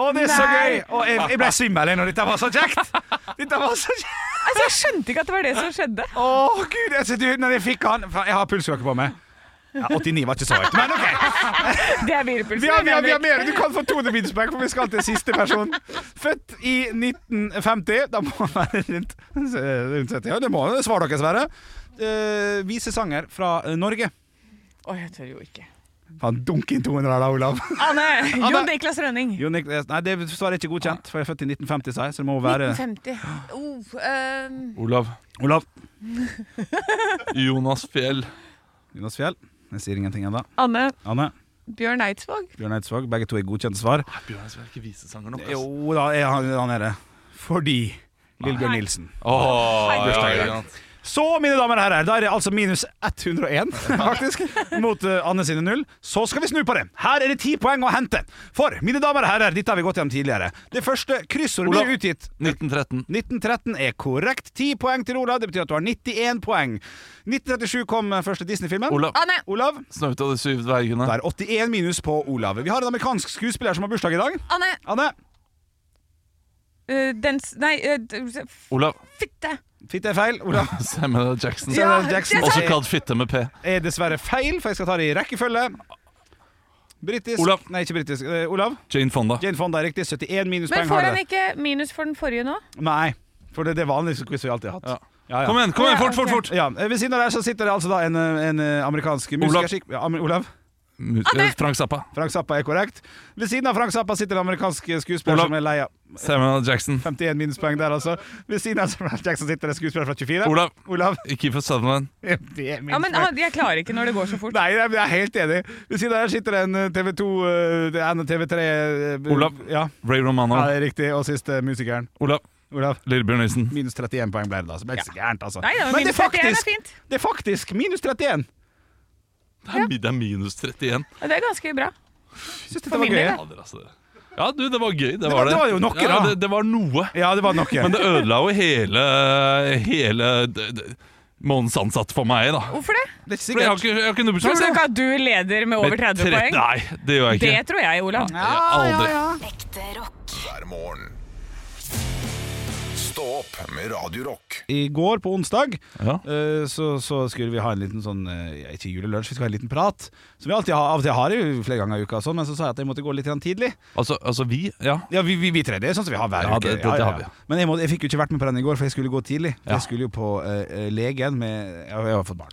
Speaker 1: Å, det er så gøy! Å, jeg, jeg ble svimmel jeg, når dette var så kjekt. Dette var så kjekt.
Speaker 2: altså, jeg skjønte ikke at det var det som skjedde.
Speaker 1: Å, gud, altså, du, når jeg fikk han Jeg har pulskake på meg. Ja, 89 var ikke så høyt, men OK.
Speaker 2: Det er virvelsen.
Speaker 1: Vi har, vi, har, vi har
Speaker 2: mener.
Speaker 1: mer. Du kan få 200 minuspoeng, for vi skal til siste person. Født i 1950. Da må han være rundt, rundt 70. Ja, det må svare dere, Sverre. Uh, visesanger fra eh, Norge.
Speaker 2: Å, jeg tør jo ikke.
Speaker 1: Faen, dunk inn 200 her da, Olav.
Speaker 2: Anne!
Speaker 1: Anne.
Speaker 2: Jon Niklas Rønning.
Speaker 1: Jo, Niklas, nei, det svaret er ikke godkjent, for jeg er født i 1950, sa jeg, så det må være
Speaker 2: 1950. Oh, ehm,
Speaker 5: Olav.
Speaker 1: Olav.
Speaker 5: Jonas Fjell.
Speaker 1: Jonas Fjell. Jeg sier ingenting ennå.
Speaker 2: Anne
Speaker 1: Anne
Speaker 2: Bjørn Eidsvåg.
Speaker 1: Bjørn Eidsvåg. Begge to er godkjente svar.
Speaker 5: Bjørn Eidsvåg er ikke visesanger nok.
Speaker 1: Jo da, er han, han er det. Fordi Lillebjørn Nilsen.
Speaker 5: ja,
Speaker 1: Bursdag i dag.
Speaker 5: ja.
Speaker 1: Så, mine damer og herrer, da er det altså minus 101 faktisk, mot eh, Anne sine null. Så skal vi snu på det. Her er det ti poeng å hente. For, mine damer og herrer, dette har vi gått gjennom tidligere. Det første kryssordet
Speaker 5: Olav.
Speaker 1: blir utgitt.
Speaker 5: 1913.
Speaker 1: 1913 er korrekt. 10 poeng til Olav. Det betyr at du har 91 poeng. 1937 kom eh, første Disney-filmen.
Speaker 5: Olav.
Speaker 2: Anne!
Speaker 1: Olav.
Speaker 5: Snøhvit og de syv dvergene.
Speaker 1: Da er 81 minus på Olav. Vi har en amerikansk skuespiller som har bursdag i dag.
Speaker 2: Anne!
Speaker 1: Anne.
Speaker 2: eh, den s- Nei, eh, d- f-
Speaker 5: Olav.
Speaker 2: fitte!
Speaker 1: Fikk det feil? Olav
Speaker 5: Samuel L. Jackson.
Speaker 2: Ja,
Speaker 1: Samuel L. Jackson
Speaker 2: det
Speaker 5: Også
Speaker 1: er,
Speaker 5: kalt Fitte med P.
Speaker 1: er dessverre feil, for jeg skal ta det i rekkefølge. Britisk
Speaker 5: Olav.
Speaker 1: Nei, ikke britisk. Eh, Olav.
Speaker 5: Jane Fonda.
Speaker 1: Jane Fonda er riktig. 71 minuspoeng
Speaker 2: Men får
Speaker 1: har
Speaker 2: han
Speaker 1: det.
Speaker 2: ikke minus for den forrige nå?
Speaker 1: Nei, for det er det vanligste quizet vi alltid har hatt. Ja, ja.
Speaker 5: Kom igjen, kom igjen, fort, fort, fort!
Speaker 1: Ja, eh, Ved siden av der så sitter det altså da en, en amerikansk musiker skikk- ja, Am- Olav. Ah,
Speaker 5: Mu- eh, Frank Zappa.
Speaker 1: Frank Zappa er korrekt. Ved siden av Frank Zappa sitter en amerikansk skuespiller
Speaker 5: Olav.
Speaker 1: som er lei av
Speaker 5: Samuel L. Jackson.
Speaker 1: 51 minuspoeng der, altså. Ved siden av Samuel L. Jackson sitter en skuespiller fra 24.
Speaker 5: Olav.
Speaker 1: Olav.
Speaker 5: Kiefer Sutherland.
Speaker 1: Det er
Speaker 2: Ja, men
Speaker 1: minuspoeng.
Speaker 2: han- Jeg klarer ikke når det går så fort.
Speaker 1: Nei, jeg jeg er helt enig. Ved siden av der sitter en eh, TV2 eh, det er en TV3 eh,
Speaker 5: Olav.
Speaker 1: Ja,
Speaker 5: Ray Romano.
Speaker 1: ja, det er riktig. Og siste musikeren.
Speaker 5: Olav.
Speaker 1: Olav.
Speaker 5: Lillebjørn Nilsen.
Speaker 1: Minus 31 poeng ble det, da. Så det ble ikke så gærent, altså.
Speaker 2: Nei, det var
Speaker 1: men
Speaker 2: minus 31 er fint.
Speaker 1: Det er faktisk minus 31.
Speaker 5: Det er, mi- det er minus 31.
Speaker 2: Ja, Det er ganske bra.
Speaker 1: Jeg Synes dette
Speaker 2: For
Speaker 1: var
Speaker 2: min
Speaker 1: gøy.
Speaker 2: del,
Speaker 5: Ja, dere, altså. ja, du, det var gøy. Det
Speaker 1: var-
Speaker 5: var det.
Speaker 1: det var jo noe,
Speaker 5: ja,
Speaker 1: da.
Speaker 5: Det, det var noe.
Speaker 1: Ja, det var nok.
Speaker 5: Men det ødela jo hele Hele d- d- månedens ansatt for meg, da.
Speaker 2: Hvorfor det?
Speaker 1: Det er ikke
Speaker 5: For jeg har
Speaker 1: sikkert.
Speaker 5: ikke, jeg har ikke
Speaker 2: Tror du
Speaker 5: nubbelslag.
Speaker 2: ikke at du leder med over 30 poeng?
Speaker 5: Nei, det gjør jeg
Speaker 2: Det
Speaker 5: ikke.
Speaker 2: tror jeg, Olav.
Speaker 5: Aldri.
Speaker 3: Ekte rock.
Speaker 4: hver morgen. Stå opp med Radio Rock.
Speaker 1: I går på onsdag
Speaker 5: Ja.
Speaker 1: eh, så, så skulle vi ha en liten sånn eh, Ikke julelunsj, vi skulle ha en liten prat. Som vi alltid har, av og til har jo flere ganger i uka, og sånn, men så sa jeg at jeg måtte gå litt grann tidlig.
Speaker 5: Altså, altså vi Ja.
Speaker 1: Ja, vi, vi, vi tre, det er sånn som vi har hver
Speaker 5: Ja,
Speaker 1: uke.
Speaker 5: det- det- det har vi.
Speaker 1: Men jeg, må, jeg fikk jo ikke vært med på den i går, for jeg skulle gå tidlig. For
Speaker 5: Ja.
Speaker 1: Jeg skulle jo på eh, legen med Jeg, jeg har fått barn,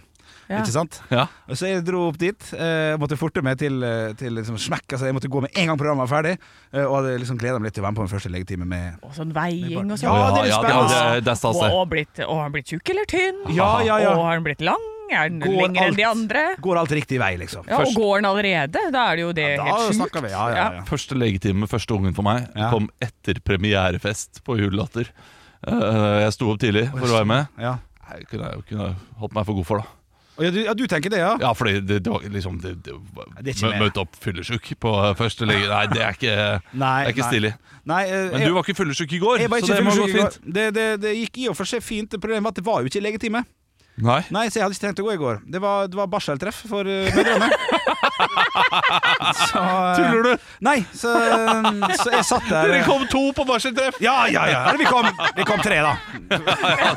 Speaker 2: Ja.
Speaker 1: ikke sant?
Speaker 5: ja.
Speaker 1: Og Så jeg dro opp dit, eh, måtte forte meg til, eh, til liksom smekk. Altså, jeg måtte gå med en gang programmet var ferdig. Eh, og hadde liksom gleda meg litt til å være med på den første legetime med
Speaker 2: Og sånn veiing og
Speaker 1: Ja,
Speaker 2: sånn.
Speaker 1: det er litt
Speaker 5: ja, det,
Speaker 1: spennende.
Speaker 5: det, det er stas, det.
Speaker 2: Og, og, blitt, og har han blitt tjukk eller tynn?
Speaker 1: Ja, ja, ja.
Speaker 2: Og har han blitt lang? Er han
Speaker 1: Går
Speaker 2: lengre
Speaker 1: alt-
Speaker 2: enn de andre?
Speaker 1: Går alt riktig vei, liksom?
Speaker 2: Ja,
Speaker 5: Først-
Speaker 2: Og går han allerede? Da er det jo det
Speaker 1: Da
Speaker 2: helt sjukt.
Speaker 1: snakker vi. Ja, ja, ja.
Speaker 5: Første legetime med første ungen for meg
Speaker 1: Ja.
Speaker 5: kom etter premierefest på Julelatter. Eh, jeg sto opp tidlig for å være med.
Speaker 1: ja.
Speaker 5: Nei, det kunne jeg kunne jeg holdt meg for god for, da.
Speaker 1: Å, ja, du, ja, du tenker det, ja?
Speaker 5: Ja, fordi det, det var liksom det, det, var-
Speaker 1: det er ikke
Speaker 5: mø-
Speaker 1: mer.
Speaker 5: Møte opp fyllesyk på eh, første lege Nei, det er ikke,
Speaker 1: Nei,
Speaker 5: det er
Speaker 1: nei.
Speaker 5: ikke stilig.
Speaker 1: Nei, eh,
Speaker 5: Men
Speaker 1: jeg,
Speaker 5: du var ikke fyllesyk i går,
Speaker 1: jeg var
Speaker 5: så
Speaker 1: ikke
Speaker 5: det må gå
Speaker 1: fyllesyk i går.
Speaker 5: fint.
Speaker 1: Det, det, det gikk i og for seg fint. Problemet var at det var jo ikke legetime.
Speaker 5: Nei.
Speaker 1: Nei, så jeg hadde ikke tenkt å gå i går. Det var, det var barseltreff for eh, mødrene. så, eh,
Speaker 5: Tuller du?
Speaker 1: Nei, så, eh, så jeg satt der
Speaker 5: Dere kom to på barseltreff!
Speaker 1: Ja, ja, ja. Eller vi kom, vi kom tre, da.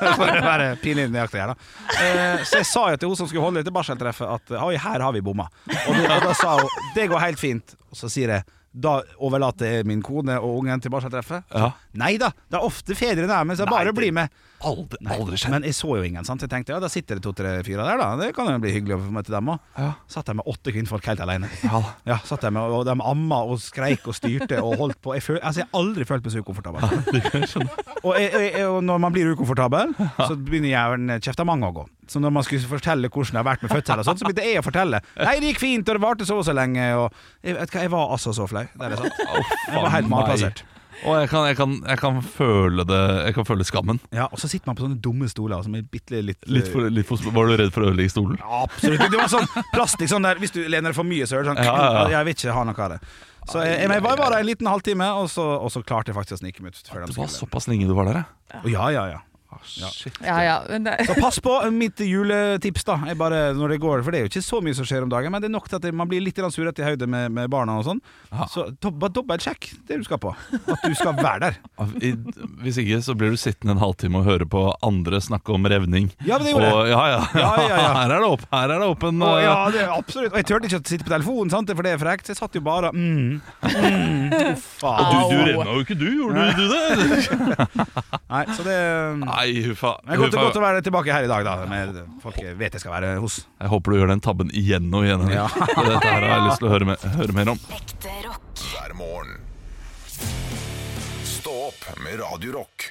Speaker 1: For å være pinlig nøyaktig her, da. Eh, Så jeg sa jo til hun som skulle holde dette barseltreffet, at oi, her har vi bomma. Og, det- og da sa hun det går helt fint. Og så sier jeg Da overlater jeg min kone og ungen til barseltreffet.
Speaker 5: Ja.
Speaker 1: Nei da, det er ofte fedrene er med, så bare
Speaker 5: det-
Speaker 1: bli med.
Speaker 5: Aldri, aldri skjedd.
Speaker 1: Men jeg så jo ingen, sant? Jeg tenkte ja, da sitter det to-tre fyrer der, da. Det kan jo bli hyggelig å få møte dem òg.
Speaker 5: Ja.
Speaker 1: Satt jeg med åtte kvinnfolk helt alene.
Speaker 5: Ja da.
Speaker 1: Ja, satt jeg med, og de amma og skreik og styrte og holdt på. Jeg, føl, altså, jeg har aldri følt meg så ukomfortabel. og, jeg, jeg, jeg, og når man blir ukomfortabel, så begynner hjernen kjeftamange å gå. Så når man skulle fortelle hvordan det har vært med fødsel, og sånt, så begynte jeg å fortelle. Nei, det gikk fint, og det varte så og så lenge. Og jeg, vet du hva, jeg var altså så flau. Det er det sant.
Speaker 5: Å, faen
Speaker 1: var helt
Speaker 5: meg.
Speaker 1: malplassert.
Speaker 5: Og jeg kan, jeg, kan, jeg kan føle det Jeg kan føle skammen.
Speaker 1: Ja, og så sitter man på sånne dumme stoler som er bitte litt,
Speaker 5: Litt for, litt for, var du redd for å ødelegge stolen?
Speaker 1: Absolutt. Det var sånn plastikk sånn der Hvis du lener deg for mye, så er det sånn
Speaker 5: Ja, ja, ja.
Speaker 1: Jeg vil ikke ha noe av det. Så jeg, jeg, jeg var bare der en liten halvtime, og så, og så klarte jeg faktisk å snike meg ut. Før de
Speaker 5: Det var
Speaker 1: skulle.
Speaker 5: såpass lenge du var der,
Speaker 1: Å, Ja, ja, ja.
Speaker 5: ja. Shit.
Speaker 2: Ja, ja, men det,
Speaker 1: Så pass på mitt juletips, da. Jeg bare, når det går, for det er jo ikke så mye som skjer om dagen, men det er nok til at man blir litt grann surrete i hodet med, med barna og sånn. Så dob- bare dobbeltsjekk det du skal på. At du skal være der.
Speaker 5: I, hvis ikke så blir du sittende en halvtime og høre på andre snakke om revning.
Speaker 1: Ja, men det gjorde
Speaker 5: og, ja, ja,
Speaker 1: Ja, ja, ja.
Speaker 5: Her er det opp, her er det åpen
Speaker 1: Å,
Speaker 5: eh,
Speaker 1: ja, det er absolutt. Og jeg turte ikke å sitte på telefonen, sant? for det er frekt. Så jeg satt jo bare mm, mm, Uff a.
Speaker 5: eh, Du, du revna jo ikke, du. Gjorde du, du det?
Speaker 1: Nei, så det
Speaker 5: Nei, huffa.
Speaker 1: Men godt,
Speaker 5: huffa.
Speaker 1: godt å være tilbake her i dag, da. Med folk jeg vet jeg skal være hos.
Speaker 5: Jeg håper du gjør den tabben igjen og igjen. Henrik.
Speaker 1: Ja.
Speaker 5: Dette her har jeg lyst til å høre, me- høre mer om.
Speaker 3: Ekte rock.
Speaker 4: hver morgen. Stå opp med Radio Rock.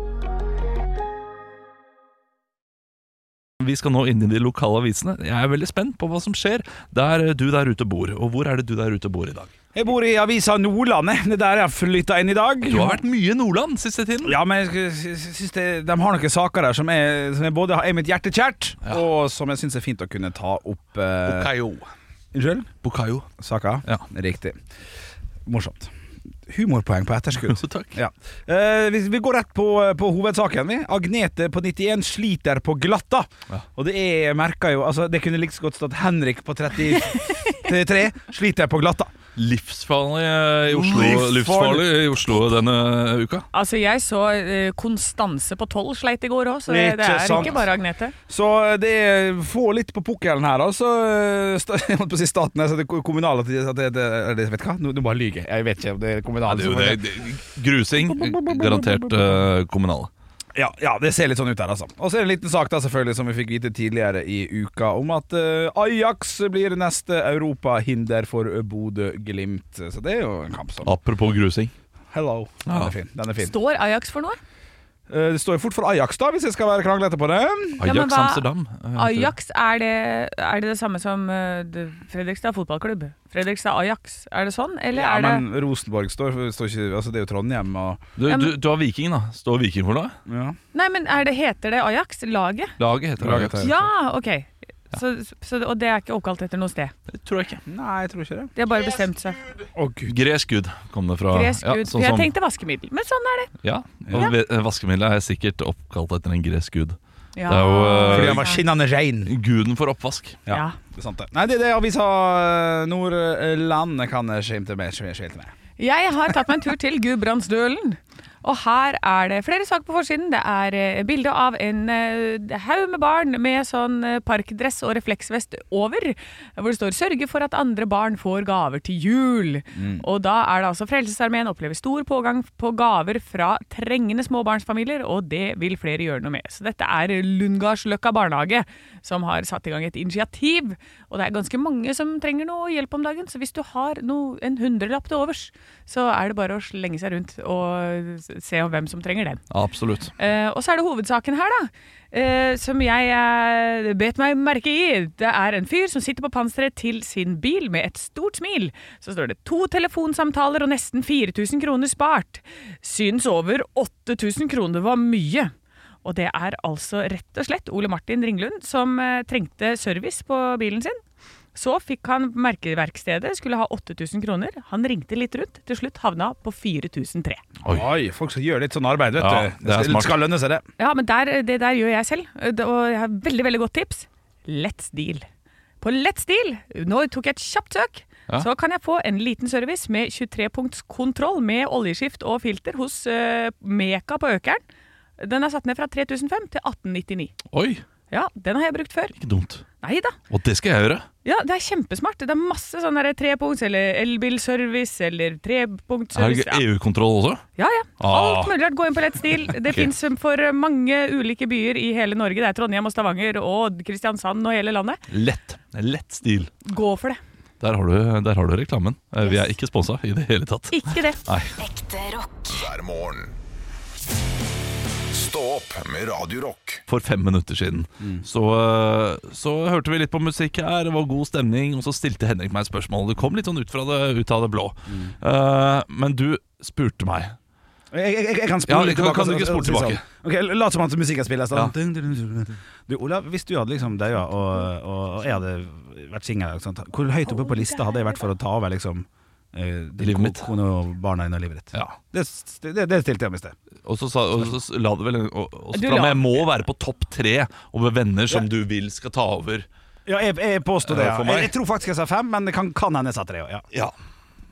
Speaker 5: Vi skal nå inn i de lokale avisene. Jeg er veldig spent på hva som skjer der du der ute bor. Og hvor er det du der ute bor i dag?
Speaker 1: Jeg bor i avisa Nordlandet. Det er der jeg har flytta inn i dag.
Speaker 5: Du har vært mye i Nordland siste tiden.
Speaker 1: Ja, men jeg synes det, de har noen saker der som, er, som jeg både har- er mitt hjerte kjært, og som jeg syns er fint å kunne ta opp. eh,
Speaker 5: Bukayo.
Speaker 1: Unnskyld?
Speaker 5: Bukayo.
Speaker 1: Saka?
Speaker 5: Ja.
Speaker 1: Riktig. Morsomt. Humorpoeng på etterskudd.
Speaker 5: Så takk.
Speaker 1: Ja. Eh, vi, vi går rett på, på hovedsaken. vi Agnete på 91 sliter på glatta. Og det er merka jo altså, Det kunne like så godt stått Henrik på 33 sliter på glatta.
Speaker 5: Livsfarlig eh, i Oslo,
Speaker 1: Livsfarlig.
Speaker 5: livsfarlig i Oslo denne eh, uka.
Speaker 2: altså, jeg så eh, Konstanse på tolv sleit i går òg, så det,
Speaker 1: Ikke
Speaker 2: det er
Speaker 1: sant.
Speaker 2: ikke bare Agnete.
Speaker 1: Så eh, det er få litt på pukkelen her, altså. Sta- Jeg holdt på å si staten, altså det kommunale at det, det, det, Vet du hva, nå, nå bare lyver jeg. Jeg vet ikke om det er
Speaker 5: Ja,
Speaker 1: kommunale.
Speaker 5: det, er jo
Speaker 1: som-
Speaker 5: det, det, grusing. Garantert eh, kommunale.
Speaker 1: Ja, ja, det ser litt sånn ut her, altså. Og så er det en liten sak da, selvfølgelig, som vi fikk vite tidligere i uka, om at eh, Ajax blir neste europahinder for eh, Bodø-Glimt. Så det er jo en kamp som
Speaker 5: Apropos grusing.
Speaker 1: Hello. Den
Speaker 5: Ja.
Speaker 1: er fin. Den er fin.
Speaker 2: Står Ajax for noe?
Speaker 1: Eh, det står jo fort for Ajax, da, hvis jeg skal være kranglete på det.
Speaker 5: Ajax
Speaker 2: men hva-
Speaker 5: Amsterdam. eh, heter det.
Speaker 2: Ajax, er det, er det det samme som eh, det- Fredrikstad fotballklubb? Fredrikstad Ajax, er det sånn? Eller
Speaker 1: Ja,
Speaker 2: er det
Speaker 1: men Rosenborg står, står ikke Altså, det er jo Trondheim og
Speaker 5: Du,
Speaker 2: Ja, men-
Speaker 5: du, du har Viking, da. Står Viking for noe?
Speaker 1: Ja.
Speaker 2: Nei, men er det, heter det Ajax? Laget?
Speaker 5: Laget heter
Speaker 1: Laget
Speaker 5: Ajax.
Speaker 1: heter-
Speaker 2: Ja, OK. Så, så, og det er ikke oppkalt etter noe sted.
Speaker 5: Det tror jeg ikke.
Speaker 1: Nei, jeg tror ikke det.
Speaker 2: De har bare bestemt seg.
Speaker 1: Å, gud.
Speaker 5: Gresk gud kom det fra.
Speaker 2: Gresk
Speaker 5: Ja,
Speaker 2: gud.
Speaker 5: sånn
Speaker 2: For jeg
Speaker 5: som-
Speaker 2: tenkte vaskemiddel, men sånn er det.
Speaker 5: ja, og ve- Vaskemiddelet er sikkert oppkalt etter en gresk gud.
Speaker 2: Ja.
Speaker 5: Det er jo, eh,
Speaker 1: Fordi han var skinnende rein.
Speaker 5: Guden for oppvask.
Speaker 2: ja. ja.
Speaker 1: Det er sant, det. Nei, det er det avisa Nordland eh, kan skimte med. Skilte med.
Speaker 2: Jeg har tatt meg en tur til Gudbrandsdølen. Og her er det flere saker på forsiden. Det er eh, bilde av en eh, haug med barn med sånn eh, parkdress og refleksvest over, hvor det står 'sørge for at andre barn får gaver til jul'. Og da er det altså Frelsesarmeen opplever stor pågang på gaver fra trengende småbarnsfamilier, og det vil flere gjøre noe med. Så dette er Lundgardsløkka barnehage som har satt i gang et initiativ. Og det er ganske mange som trenger noe hjelp om dagen, så hvis du har noe, en hundrelapp til overs, så er det bare å slenge seg rundt og se hvem som trenger den.
Speaker 5: Absolutt.
Speaker 2: Eh, og så er det hovedsaken her, da. eh, som jeg eh, bet meg merke i. Det er en fyr som sitter på panseret til sin bil med et stort smil. Så står det to telefonsamtaler og nesten 4000 kroner spart. Syns over 8000 kroner var mye. Og det er altså rett og slett Ole Martin Ringlund som eh, trengte service på bilen sin. Så fikk han merkeverkstedet, skulle ha 8000 kroner. Han ringte litt rundt. Til slutt havna på 4003.
Speaker 1: Oi. folk som gjør litt sånn arbeid, vet
Speaker 5: Ja,
Speaker 1: du.
Speaker 5: det er
Speaker 1: skal-
Speaker 5: smart.
Speaker 1: skal lønne seg, det.
Speaker 2: Ja, men der, det der gjør jeg selv. Det- Og jeg har et veldig, veldig godt tips. Let's deal. På Let's deal, nå tok jeg et kjapt søk,
Speaker 5: Ja.
Speaker 2: så kan jeg få en liten service med 23-punktskontroll med oljeskift og filter hos eh, Meka på Økeren. Den er satt ned fra 3005 til 1899.
Speaker 5: Oi,
Speaker 2: Ja, den har jeg brukt før.
Speaker 5: ikke dumt.
Speaker 2: Nei da.
Speaker 5: Og det skal jeg gjøre.
Speaker 2: Ja, det er kjempesmart. Det er masse sånn der trepunkts eller elbilservice eller
Speaker 5: Er
Speaker 2: trepunktservice.
Speaker 5: det EU-kontroll også?
Speaker 2: Ja, ja.
Speaker 5: Ah.
Speaker 2: Alt mulig rart. Gå inn på Let's Deal. Det
Speaker 5: Ok.
Speaker 2: finnes fins for mange ulike byer i hele Norge. Det er Trondheim og Stavanger og Kristiansand og hele landet.
Speaker 5: Lett. Lett stil.
Speaker 2: Gå for det.
Speaker 5: Der har du, der har du reklamen. Eh, Vi er ikke sponsa i det hele tatt.
Speaker 2: Ikke det.
Speaker 5: Nei.
Speaker 3: Ekte rock.
Speaker 4: hver morgen. Stå opp med Radio Rock.
Speaker 5: For fem minutter siden. Så, eh, så hørte vi litt på musikk her, det var god stemning, og så stilte Henrik meg et spørsmål. Det kom litt sånn ut, fra det, ut av det blå. Eh, men du spurte meg
Speaker 1: Jeg, jeg, jeg, jeg kan
Speaker 5: Ja,
Speaker 1: spole
Speaker 5: kan-
Speaker 1: litt tilbake.
Speaker 5: kan du
Speaker 1: altså,
Speaker 5: ikke spole
Speaker 1: og si
Speaker 5: tilbake?
Speaker 1: Sånn. Ok, l- Lat som at musikken spilles. da. Du, Olav, hvis du hadde liksom deg og, og, og jeg hadde vært singel, ikke sant? hvor høyt oppe på lista hadde jeg vært for å ta over liksom eh, din
Speaker 5: Livet
Speaker 1: ko-
Speaker 5: mitt.
Speaker 1: Kone og barna dine og livet ditt.
Speaker 5: Ja.
Speaker 1: Det, s- det, det stilte jeg om i sted.
Speaker 5: Og så, sa, og så la det vel og, og så
Speaker 2: Du
Speaker 5: fra
Speaker 2: la-
Speaker 5: meg, Jeg må være på topp tre over venner som du vil skal ta over.
Speaker 1: Ja, jeg, jeg påstod det.
Speaker 5: Eh,
Speaker 1: Ja.
Speaker 5: for meg.
Speaker 1: Jeg, jeg tror faktisk jeg sa fem, men det kan, kan hende jeg sa tre òg. Ja.
Speaker 5: Ja.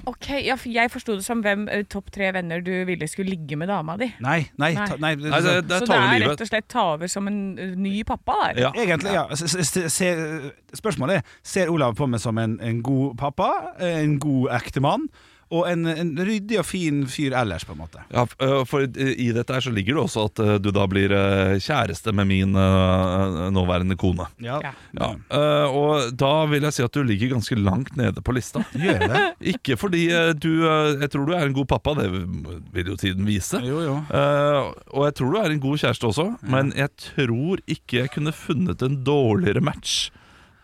Speaker 2: Ok, ja, for Jeg forsto det som hvem eh, topp tre venner du ville skulle ligge med dama di.
Speaker 1: Nei, nei,
Speaker 2: Nei.
Speaker 1: ta, nei, det-
Speaker 5: Nei, det, det
Speaker 2: Så
Speaker 5: er
Speaker 2: det
Speaker 5: ta over
Speaker 2: er rett
Speaker 5: livet.
Speaker 2: og slett ta over som en eh, ny pappa der.
Speaker 5: Ja.
Speaker 1: Egentlig, ja. S- s- s- ser- spørsmålet er Ser Olav på meg som en, en god pappa, en god ektemann og en, en ryddig og fin fyr ellers, på en måte?
Speaker 5: Ja, f- øh, for i i dette her så ligger det også at øh, du da blir øh, kjæreste med min øh, nåværende kone.
Speaker 2: Ja.
Speaker 5: Ja.
Speaker 1: Mm.
Speaker 5: øh, Og da vil jeg si at du ligger ganske langt nede på lista.
Speaker 1: Gjør det?
Speaker 5: Ikke fordi øh, du øh, Jeg tror du er en god pappa, det vil jo tiden vise.
Speaker 1: Jo, jo.
Speaker 5: Øh, og jeg tror du er en god kjæreste også, men jeg tror ikke jeg kunne funnet en dårligere match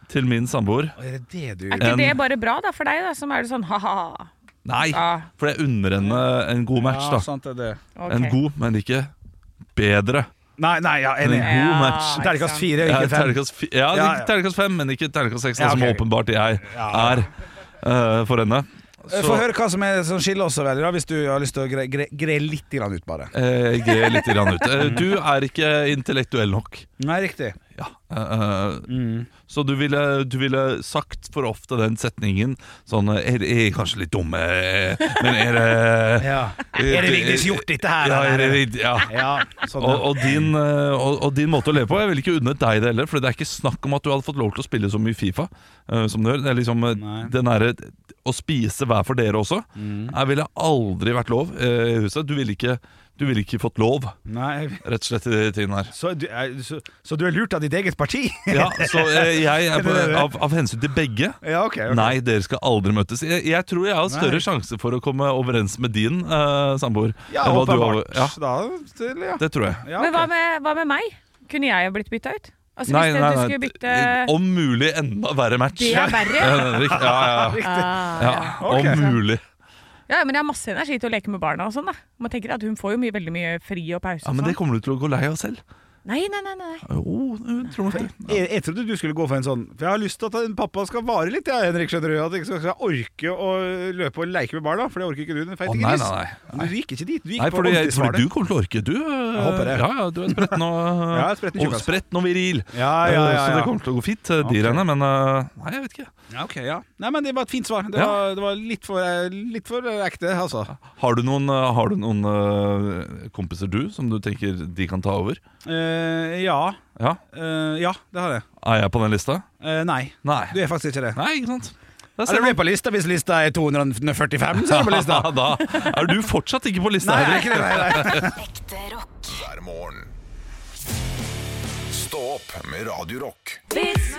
Speaker 5: til min samboer.
Speaker 1: Er det det du
Speaker 2: Er ikke det
Speaker 5: En-
Speaker 2: bare bra da for deg, da, som er det sånn ha-ha?
Speaker 5: Nei,
Speaker 2: Ah.
Speaker 5: for jeg unner henne en god match, da.
Speaker 1: sant er det.
Speaker 2: Ok.
Speaker 5: En god, men ikke bedre.
Speaker 1: Nei, nei, ja,
Speaker 5: Men
Speaker 1: enig.
Speaker 5: en god match.
Speaker 2: ikke
Speaker 1: Terningkast
Speaker 2: sant.
Speaker 1: fire,
Speaker 5: Ja,
Speaker 1: ikke fem.
Speaker 5: terningkast fi- ja,
Speaker 1: Ja, ja.
Speaker 5: terningkast fem, men ikke terningkast seks, da,
Speaker 1: Ja,
Speaker 5: som
Speaker 1: ok.
Speaker 5: åpenbart jeg
Speaker 1: Ja.
Speaker 5: er eh, for henne.
Speaker 1: Få høre hva som, er, som skiller oss så veldig, da, hvis du har lyst til å gre, gre, gre litt grann ut, bare.
Speaker 5: eh, greier litt grann ut. Eh, Du er ikke intellektuell nok.
Speaker 1: Nei, riktig.
Speaker 5: Ja. eh,
Speaker 1: Mm.
Speaker 5: Så du ville, du ville sagt for ofte den setningen sånn eh, Er er jeg kanskje litt dum, eh, men er det
Speaker 1: Ja. Er det Vigdis gjort dette her?
Speaker 5: Ja, er det,
Speaker 1: eller?
Speaker 5: virkelig- ja.
Speaker 1: ja sånn.
Speaker 5: Og, og, din, eh, og, og din måte å leve på Jeg ville ikke unnet deg det heller For det er ikke snakk om at du hadde fått lov til å spille så mye FIFA eh, Som du gjør Det er liksom eh,
Speaker 1: Nei. Mm.
Speaker 5: den derre Å spise hver for dere også Jeg ville aldri vært lov eh, i huset Du ville ikke, du ville ikke fått lov
Speaker 1: Nei.
Speaker 5: Rett og slett i de tingene her
Speaker 1: Så du, er, så, så du er lurt av ditt eget parti?
Speaker 5: ja, Så eh, jeg er
Speaker 1: det
Speaker 5: på,
Speaker 1: det du er?
Speaker 5: av, av hensyn til begge
Speaker 1: ja, ok. ok.
Speaker 5: Nei, dere skal aldri møtes Jeg, jeg tror jeg har større
Speaker 1: Nei.
Speaker 5: sjanse for å komme overens med din eh, samboer
Speaker 1: Ja,
Speaker 5: enn hva du har-
Speaker 1: åpenbart.
Speaker 5: ja,
Speaker 1: Da, til, ja.
Speaker 5: Det tror jeg
Speaker 1: Ja,
Speaker 2: Men hva
Speaker 1: ok.
Speaker 2: med, hva med meg? Kunne jeg ha blitt bytta ut? Altså
Speaker 5: Nei,
Speaker 2: Hvis det-
Speaker 5: nei,
Speaker 2: du
Speaker 5: nei,
Speaker 2: skulle bytte
Speaker 5: Om mulig enda verre match
Speaker 2: Det er verre.
Speaker 5: Ja, det er riktig. ja, ja, ja.
Speaker 2: Ah.
Speaker 5: ja.
Speaker 1: Ok.
Speaker 5: Om mulig
Speaker 2: Ja, men jeg har masse energi til å leke med barna og sånn, da. Man tenker at hun får jo mye, veldig mye fri og pause
Speaker 5: ja,
Speaker 2: og
Speaker 5: Men det
Speaker 2: sånn.
Speaker 5: kommer du til å gå lei av selv
Speaker 2: Nei, nei, nei, nei.
Speaker 5: Jo, jeg tror nok det
Speaker 1: Jeg, jeg trodde du skulle gå for en sånn For jeg har lyst til at en pappa skal vare litt, jeg, Henrik. Skjønner du? At jeg skal skal orke å løpe og leke med barna, for det orker ikke du. Den feit
Speaker 5: Å,
Speaker 1: ikke
Speaker 5: nei,
Speaker 1: lyst.
Speaker 5: nei, nei.
Speaker 1: Men Du gikk ikke dit. Du gikk
Speaker 5: Nei,
Speaker 1: på
Speaker 5: fordi, jeg,
Speaker 1: ordentlig svar.
Speaker 5: fordi du kommer til å orke Du,
Speaker 1: håper det.
Speaker 5: ja, ja, du er eh, spretten og,
Speaker 1: Ja, jeg er spretten
Speaker 5: og
Speaker 1: tjukkas.
Speaker 5: spretten og viril
Speaker 1: Ja, ja, ja,
Speaker 5: Så
Speaker 1: ja.
Speaker 5: det kommer til å gå fint, de
Speaker 1: Ok.
Speaker 5: regnene Men eh, nei, jeg vet ikke
Speaker 1: Ja, ok, ja. Nei, men det var et fint svar. Det
Speaker 5: Ja.
Speaker 1: var, det var litt, for, eh, litt for ekte, altså.
Speaker 5: Har du noen, eh, har du noen eh, kompiser du Som du tenker de kan ta over?
Speaker 1: Eh, ja.
Speaker 5: Ja,
Speaker 1: Eh, ja, det har jeg.
Speaker 5: er jeg på den lista?
Speaker 1: Eh, nei,
Speaker 5: Nei,
Speaker 1: du er faktisk ikke det.
Speaker 5: nei ikke sant Da
Speaker 1: Altså, du
Speaker 5: ser
Speaker 1: blir på lista hvis lista er 245, så er du på lista.
Speaker 5: man Da er du fortsatt ikke på lista
Speaker 1: Nei, det er
Speaker 5: Henrik
Speaker 1: ikke det, nei, nei.
Speaker 3: Ekte rock.
Speaker 4: hver morgen. Stå opp med Radio Rock.
Speaker 2: Vits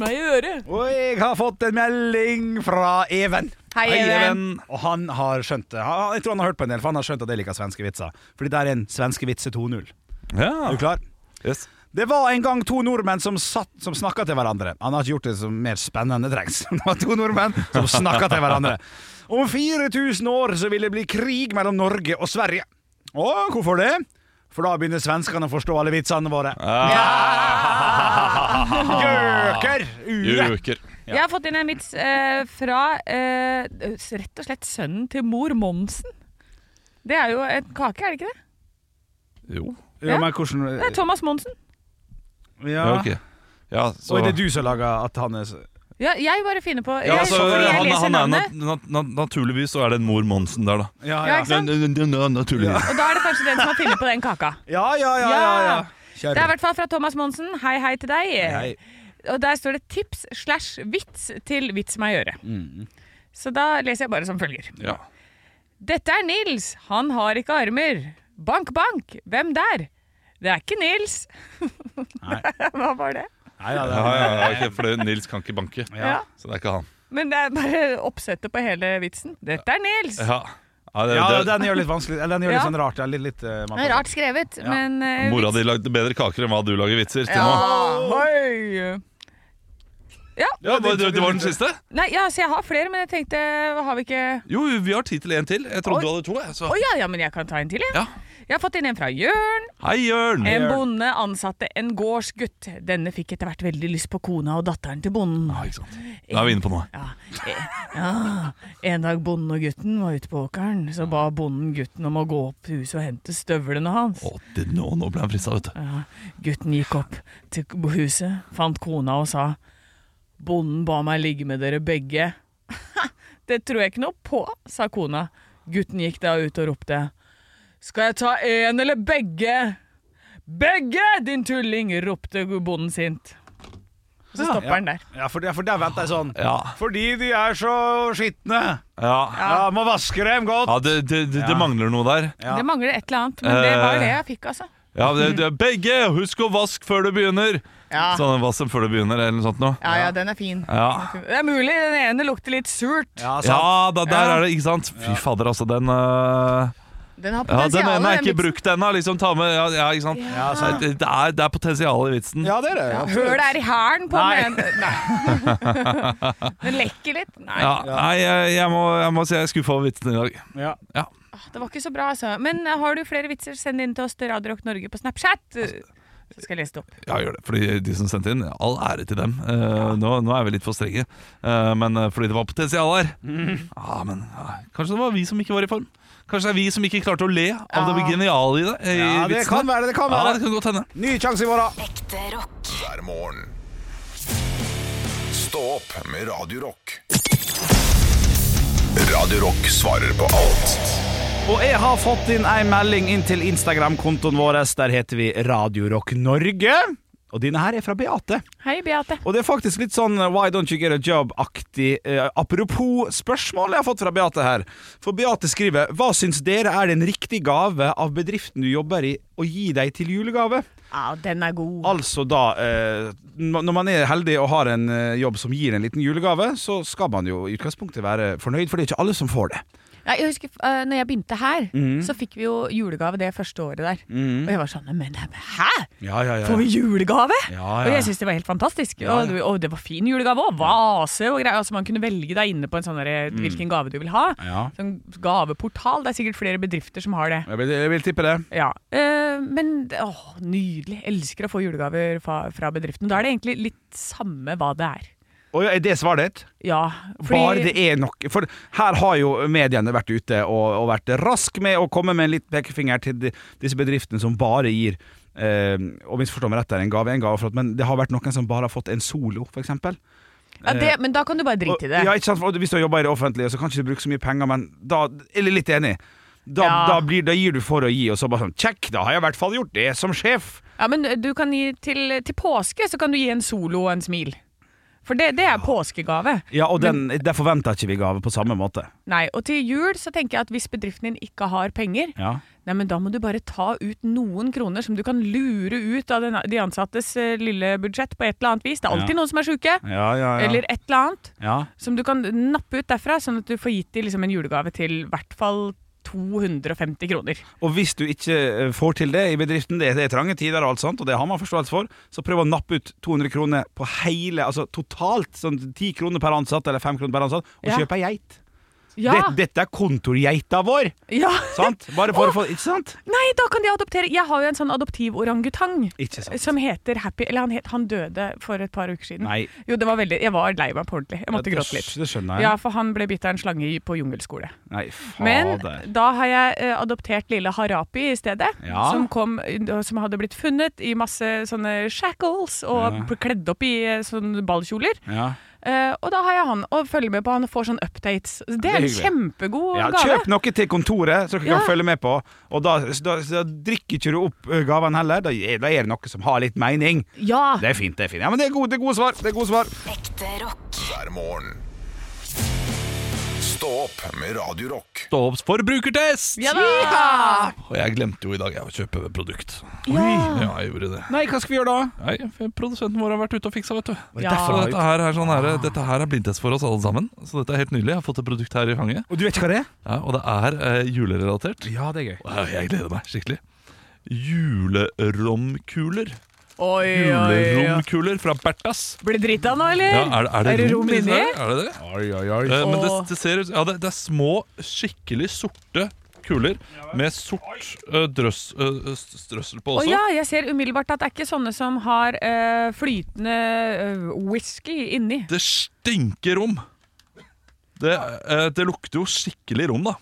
Speaker 2: meg i øret!
Speaker 1: Og jeg har fått en melding fra Even.
Speaker 2: Hei, Even.
Speaker 1: Og han har skjønt det. Han- Jeg tror han har hørt på en del, for han har skjønt at jeg liker svenske vitser. Fordi det er en svenske vitse 2.0. Er
Speaker 5: Ja,
Speaker 1: du klar?
Speaker 5: yes
Speaker 1: Det var en gang to nordmenn som, satt- som snakka til hverandre. Han har ikke gjort det så mer spennende, trengs. Det var to nordmenn som snakka til hverandre. Om 4000 år så vil det bli krig mellom Norge og Sverige. Å, hvorfor det? For da begynner svenskene å forstå alle vitsene våre. Gjøker! Ure!
Speaker 5: Gjøker.
Speaker 2: Jeg har fått inn en vits eh, fra eh, rett og slett sønnen til mor Monsen. Det er jo en kake, er det ikke det?
Speaker 5: Jo.
Speaker 1: Ja, men hvordan
Speaker 2: Det er Thomas Monsen.
Speaker 1: ja.
Speaker 5: Ja, ok. Ja, så
Speaker 1: Og er det du som lager at han er så-
Speaker 2: Ja, jeg bare finner på.
Speaker 5: ja,
Speaker 2: jeg,
Speaker 5: altså,
Speaker 2: fordi jeg
Speaker 5: han,
Speaker 2: leser
Speaker 5: han er
Speaker 2: navnet,
Speaker 5: nat nat nat Naturligvis så er det en mor Monsen der, da.
Speaker 1: Ja,
Speaker 2: Ja,
Speaker 1: ja.
Speaker 2: ikke sant?
Speaker 5: Na- na- na- naturligvis.
Speaker 2: og da er det kanskje den som har funnet på den kaka.
Speaker 1: Ja, ja, ja, ja, ja. Kjør.
Speaker 2: Det er i hvert fall fra Thomas Monsen. Hei, hei til deg.
Speaker 1: Hei.
Speaker 2: Og der står det tips slash vits til vits meg gjøre.
Speaker 5: Mm.
Speaker 2: Så da leser jeg bare som følger.
Speaker 5: Ja.
Speaker 2: Dette er Nils. Han har ikke armer. Bank, bank. Hvem der? Det er ikke Nils. Hva var det?
Speaker 1: Nei, ja, det
Speaker 5: Ja,
Speaker 1: er-
Speaker 5: ja, ja, ok, for det, Nils kan ikke banke,
Speaker 2: Ja.
Speaker 5: så det er ikke han.
Speaker 2: Men det er bare oppsettet på hele vitsen. Dette er Nils.
Speaker 5: Ja, ja, det,
Speaker 1: ja,
Speaker 5: det,
Speaker 1: den gjør litt vanskelig Eller den gjør litt
Speaker 2: Ja.
Speaker 1: sånn rart. ja, Litt, litt, eh, man-
Speaker 2: Det er Rart skrevet, men eh,
Speaker 5: Mora di lagde bedre kaker enn hva du lager vitser til nå.
Speaker 2: Ja, oi.
Speaker 5: Ja, det, det, det var den siste?
Speaker 2: Nei, ja, så jeg har flere, men jeg tenkte Har vi ikke
Speaker 5: Jo, vi har tid til en til. Jeg trodde
Speaker 2: Oi.
Speaker 5: du hadde to. Jeg, så.
Speaker 2: Å ja, ja, men jeg kan ta en til, jeg.
Speaker 5: Ja.
Speaker 2: Jeg har fått inn en fra Jørn.
Speaker 5: Hei, Jørn!
Speaker 2: En bonde ansatte en gårdsgutt. Denne fikk etter hvert veldig lyst på kona og datteren til bonden.
Speaker 5: Ja, ikke sant. Nå er vi inne på noe.
Speaker 2: Ja, eh, ja. En dag bonden og gutten var ute på åkeren, så ba bonden gutten om å gå opp til huset og hente støvlene hans.
Speaker 5: Å, det, nå, nå ble han frista, vet du.
Speaker 2: Ja, gutten gikk opp til huset, fant kona og sa Bonden ba meg ligge med dere begge. Det tror jeg ikke noe på, sa kona. Gutten gikk da ut og ropte. Skal jeg ta én eller begge? Begge, din tulling! ropte bonden sint. Og Så stopper han der.
Speaker 1: Ja, for, ja, for der venter jeg sånn.
Speaker 5: Ja.
Speaker 1: Fordi de er så skitne.
Speaker 5: Ja,
Speaker 1: Ja, må vaske dem godt.
Speaker 5: ja det, det, det, det mangler noe der.
Speaker 1: Ja.
Speaker 2: Det mangler et eller annet, men det var jo det jeg fikk, altså.
Speaker 5: Ja, det, det, begge! Husk å vask før du begynner!
Speaker 2: Ja.
Speaker 5: Sånn vask dem før du begynner, eller noe sånt noe.
Speaker 2: Ja, ja, den er fin.
Speaker 5: Ja.
Speaker 2: Det er mulig den ene lukter litt surt.
Speaker 1: Altså, Ja, sant.
Speaker 5: Ja, da, der
Speaker 2: Ja.
Speaker 5: er det, ikke sant? Fy fader, altså, den øh,
Speaker 2: Den har
Speaker 5: Ja,
Speaker 2: potensial.
Speaker 5: den ene er
Speaker 2: den
Speaker 5: ikke
Speaker 2: vitsen.
Speaker 5: brukt ennå, liksom. Ta med Ja, ja ikke sant?
Speaker 1: Ja, sant.
Speaker 5: Det, det, er, det er potensial i vitsen.
Speaker 1: Ja, det er det.
Speaker 2: Høl er i hælen på
Speaker 1: Nei.
Speaker 2: den. Nei. Den lekker litt. Nei,
Speaker 5: Ja, nei, jeg, jeg, må, jeg må si jeg er skuffa over vitsen i dag.
Speaker 1: Ja.
Speaker 2: det var ikke så bra, altså. Men har du flere vitser, send inn til oss til Radio Rock Norge på Snapchat. Så skal jeg lese det opp.
Speaker 5: Ja, gjør det. Fordi de som sendte inn, all ære til dem. Eh, nå, nå er vi litt for strenge, Eh, men eh, fordi det var potensial her.
Speaker 1: Mm.
Speaker 5: Ja, men ja, Kanskje det var vi som ikke var i form? Kanskje det er vi som ikke klarte å le av det geniale i det? I
Speaker 1: Ja, det
Speaker 5: vitsene?
Speaker 1: kan være, det kan
Speaker 5: Ja,
Speaker 1: være.
Speaker 5: det kan godt hende.
Speaker 1: Ny sjanse i morgen.
Speaker 3: Ekte rock.
Speaker 4: hver morgen. Stå opp med Radio Rock. Radio Rock svarer på alt.
Speaker 1: Og jeg har fått inn ei melding inn til Instagram-kontoen vår. Der heter vi Radio Rock Norge. Og denne her er fra Beate.
Speaker 2: Hei, Beate.
Speaker 1: Og det er faktisk litt sånn eh, Why don't you get a job-aktig eh, apropos spørsmål jeg har fått fra Beate her. For Beate skriver Hva syns dere er den riktige gave av bedriften du jobber i å gi deg til julegave?
Speaker 2: Ja, den er god.
Speaker 1: Altså da eh, n- Når man er heldig og har en eh, jobb som gir en liten julegave, så skal man jo i utgangspunktet være fornøyd, for det er ikke alle som får det.
Speaker 2: Ja, jeg husker eh, når jeg begynte her,
Speaker 1: Mhm.
Speaker 2: så fikk vi jo julegave det første året der. Og jeg var sånn Men hæ?
Speaker 1: Ja, Mhm. ja,
Speaker 2: Får vi julegave?
Speaker 1: Ja, ja.
Speaker 2: Og jeg syntes det var helt fantastisk.
Speaker 1: Ja, ja.
Speaker 2: Og, du- og det var fin julegave òg. Vase og greier. Altså, man kunne velge deg inne på en sånn derre hvilken gave du vil ha.
Speaker 1: Mhm. Ja.
Speaker 2: Sånn gaveportal. Det er sikkert flere bedrifter som har det.
Speaker 1: Jeg vil, jeg vil tippe det.
Speaker 2: Ja. Eh, men det- åh, nydelig. Elsker å få julegaver fra, fra bedriften. Da er det egentlig litt samme hva det er.
Speaker 1: Og ja, er det svaret ditt?
Speaker 2: Ja,
Speaker 1: Bare det er nok For her har jo mediene vært ute og, og vært rask med å komme med en liten pekefinger til de, disse bedriftene som bare gir eh, Og misforstå meg rett, det er en gave, en gave for at, men det har vært noen som bare har fått en solo, f.eks.
Speaker 2: ja, det, Men da kan du bare drite i det.
Speaker 1: Ja, ikke sant? For hvis du jobber i det offentlige, så kan ikke du bruke så mye penger, men da Eller litt enig. Da,
Speaker 2: Ja.
Speaker 1: da, blir, da gir du for å gi, og så bare sånn Check, da har jeg i hvert fall gjort det som sjef!
Speaker 2: Ja, men eh, du kan gi til, til påske så kan du gi en solo og en smil. For det, det er påskegave.
Speaker 1: Ja, og den, der forventer ikke vi gave på samme måte.
Speaker 2: Nei, og til jul så tenker jeg at hvis bedriften din ikke har penger,
Speaker 1: Ja.
Speaker 2: nei, men da må du bare ta ut noen kroner som du kan lure ut av den, de ansattes eh, lille budsjett på et eller annet vis. Det er alltid
Speaker 1: Ja.
Speaker 2: noen som er sjuke,
Speaker 1: Ja, ja, ja.
Speaker 2: eller et eller annet,
Speaker 1: ja.
Speaker 2: som du kan nappe ut derfra, sånn at du får gitt dem liksom en julegave til i hvert fall 250 kroner.
Speaker 1: Og hvis du ikke eh, får til det i bedriften, det det er trange tider og alt sånt, og det har man forståelse for, så prøv å nappe ut 200 kroner på hele, altså totalt, sånn 10 kroner per ansatt eller 5 kroner per ansatt, og
Speaker 2: Ja.
Speaker 1: kjøp ei geit.
Speaker 2: Ja.
Speaker 1: Det, dette er kontorgeita vår!
Speaker 2: Ja.
Speaker 1: Sant? Bare for å få Ikke sant?
Speaker 2: Nei, da kan de adoptere Jeg har jo en sånn adoptiv orangutang
Speaker 1: Ikke sant.
Speaker 2: som heter Happy Eller han, het, han døde for et par uker siden.
Speaker 1: Nei.
Speaker 2: Jo, det var veldig Jeg var lei meg på ordentlig. Jeg måtte
Speaker 1: Det-
Speaker 2: gråte litt.
Speaker 1: Det skjønner jeg.
Speaker 2: Ja, for han ble bitt av en slange i- på jungelskole.
Speaker 1: Nei, fader.
Speaker 2: Men da har jeg eh, adoptert lille Harapi i stedet.
Speaker 1: Ja.
Speaker 2: Som, kom, som hadde blitt funnet i masse sånne shackles og
Speaker 1: Ja.
Speaker 2: ble kledd opp i eh, sånne ballkjoler.
Speaker 1: ja.
Speaker 2: Eh, og da har jeg han og følger med på han og får sånne updates. Så Det
Speaker 1: er
Speaker 2: er en
Speaker 1: hyggelig.
Speaker 2: kjempegod
Speaker 1: Ja,
Speaker 2: gave.
Speaker 1: kjøp noe til kontoret, så dere
Speaker 2: Ja.
Speaker 1: kan følge med på. Og da, da, da drikker ikke du opp ø, gaven heller. Da, er- da er det noe som har litt mening.
Speaker 2: Ja.
Speaker 1: Det er fint. det er fint Ja, men det er gode, det er gode svar. Det er gode svar.
Speaker 3: Ekte rock.
Speaker 4: hver morgen. Stå opp med Radio Rock.
Speaker 5: Stå opp forbrukertest!
Speaker 2: Ja da!
Speaker 5: Og jeg glemte jo i dag jeg, å kjøpe produkt.
Speaker 2: Ja.
Speaker 5: Ja, jeg gjorde det.
Speaker 1: Nei, hva skal vi gjøre da?
Speaker 5: Nei, for Produsenten vår har vært ute og fiksa, vet du.
Speaker 2: Ja.
Speaker 5: Så dette her, er sånn her,
Speaker 1: Ah.
Speaker 5: dette her er blindtest for oss alle sammen. Så dette er helt nydelig. Jeg har fått et produkt her i fanget,
Speaker 1: Og du vet ikke hva det er?
Speaker 5: ja, og det er eh, julerelatert.
Speaker 1: Ja, det er gøy.
Speaker 5: Wow, jeg gleder meg skikkelig. Juleromkuler.
Speaker 2: Oi, oi, oi.
Speaker 5: Juleromkuler fra Bertas.
Speaker 2: Blir det drita nå, eller?
Speaker 5: Ja, er, det- er det, rom i disse
Speaker 2: inni?
Speaker 5: her? Er det det?
Speaker 1: Oi, oi, oi.
Speaker 5: Eh, men det,
Speaker 2: Åh.
Speaker 5: det ser ut Ja, det, det er små, skikkelig sorte kuler med sort eh, drøss, eh, s- strøssel på
Speaker 2: Å
Speaker 5: også.
Speaker 2: ja, jeg ser umiddelbart at det er ikke sånne som har eh, flytende eh, whisky inni.
Speaker 5: Det stinker rom. Det, eh, det lukter jo skikkelig rom, da.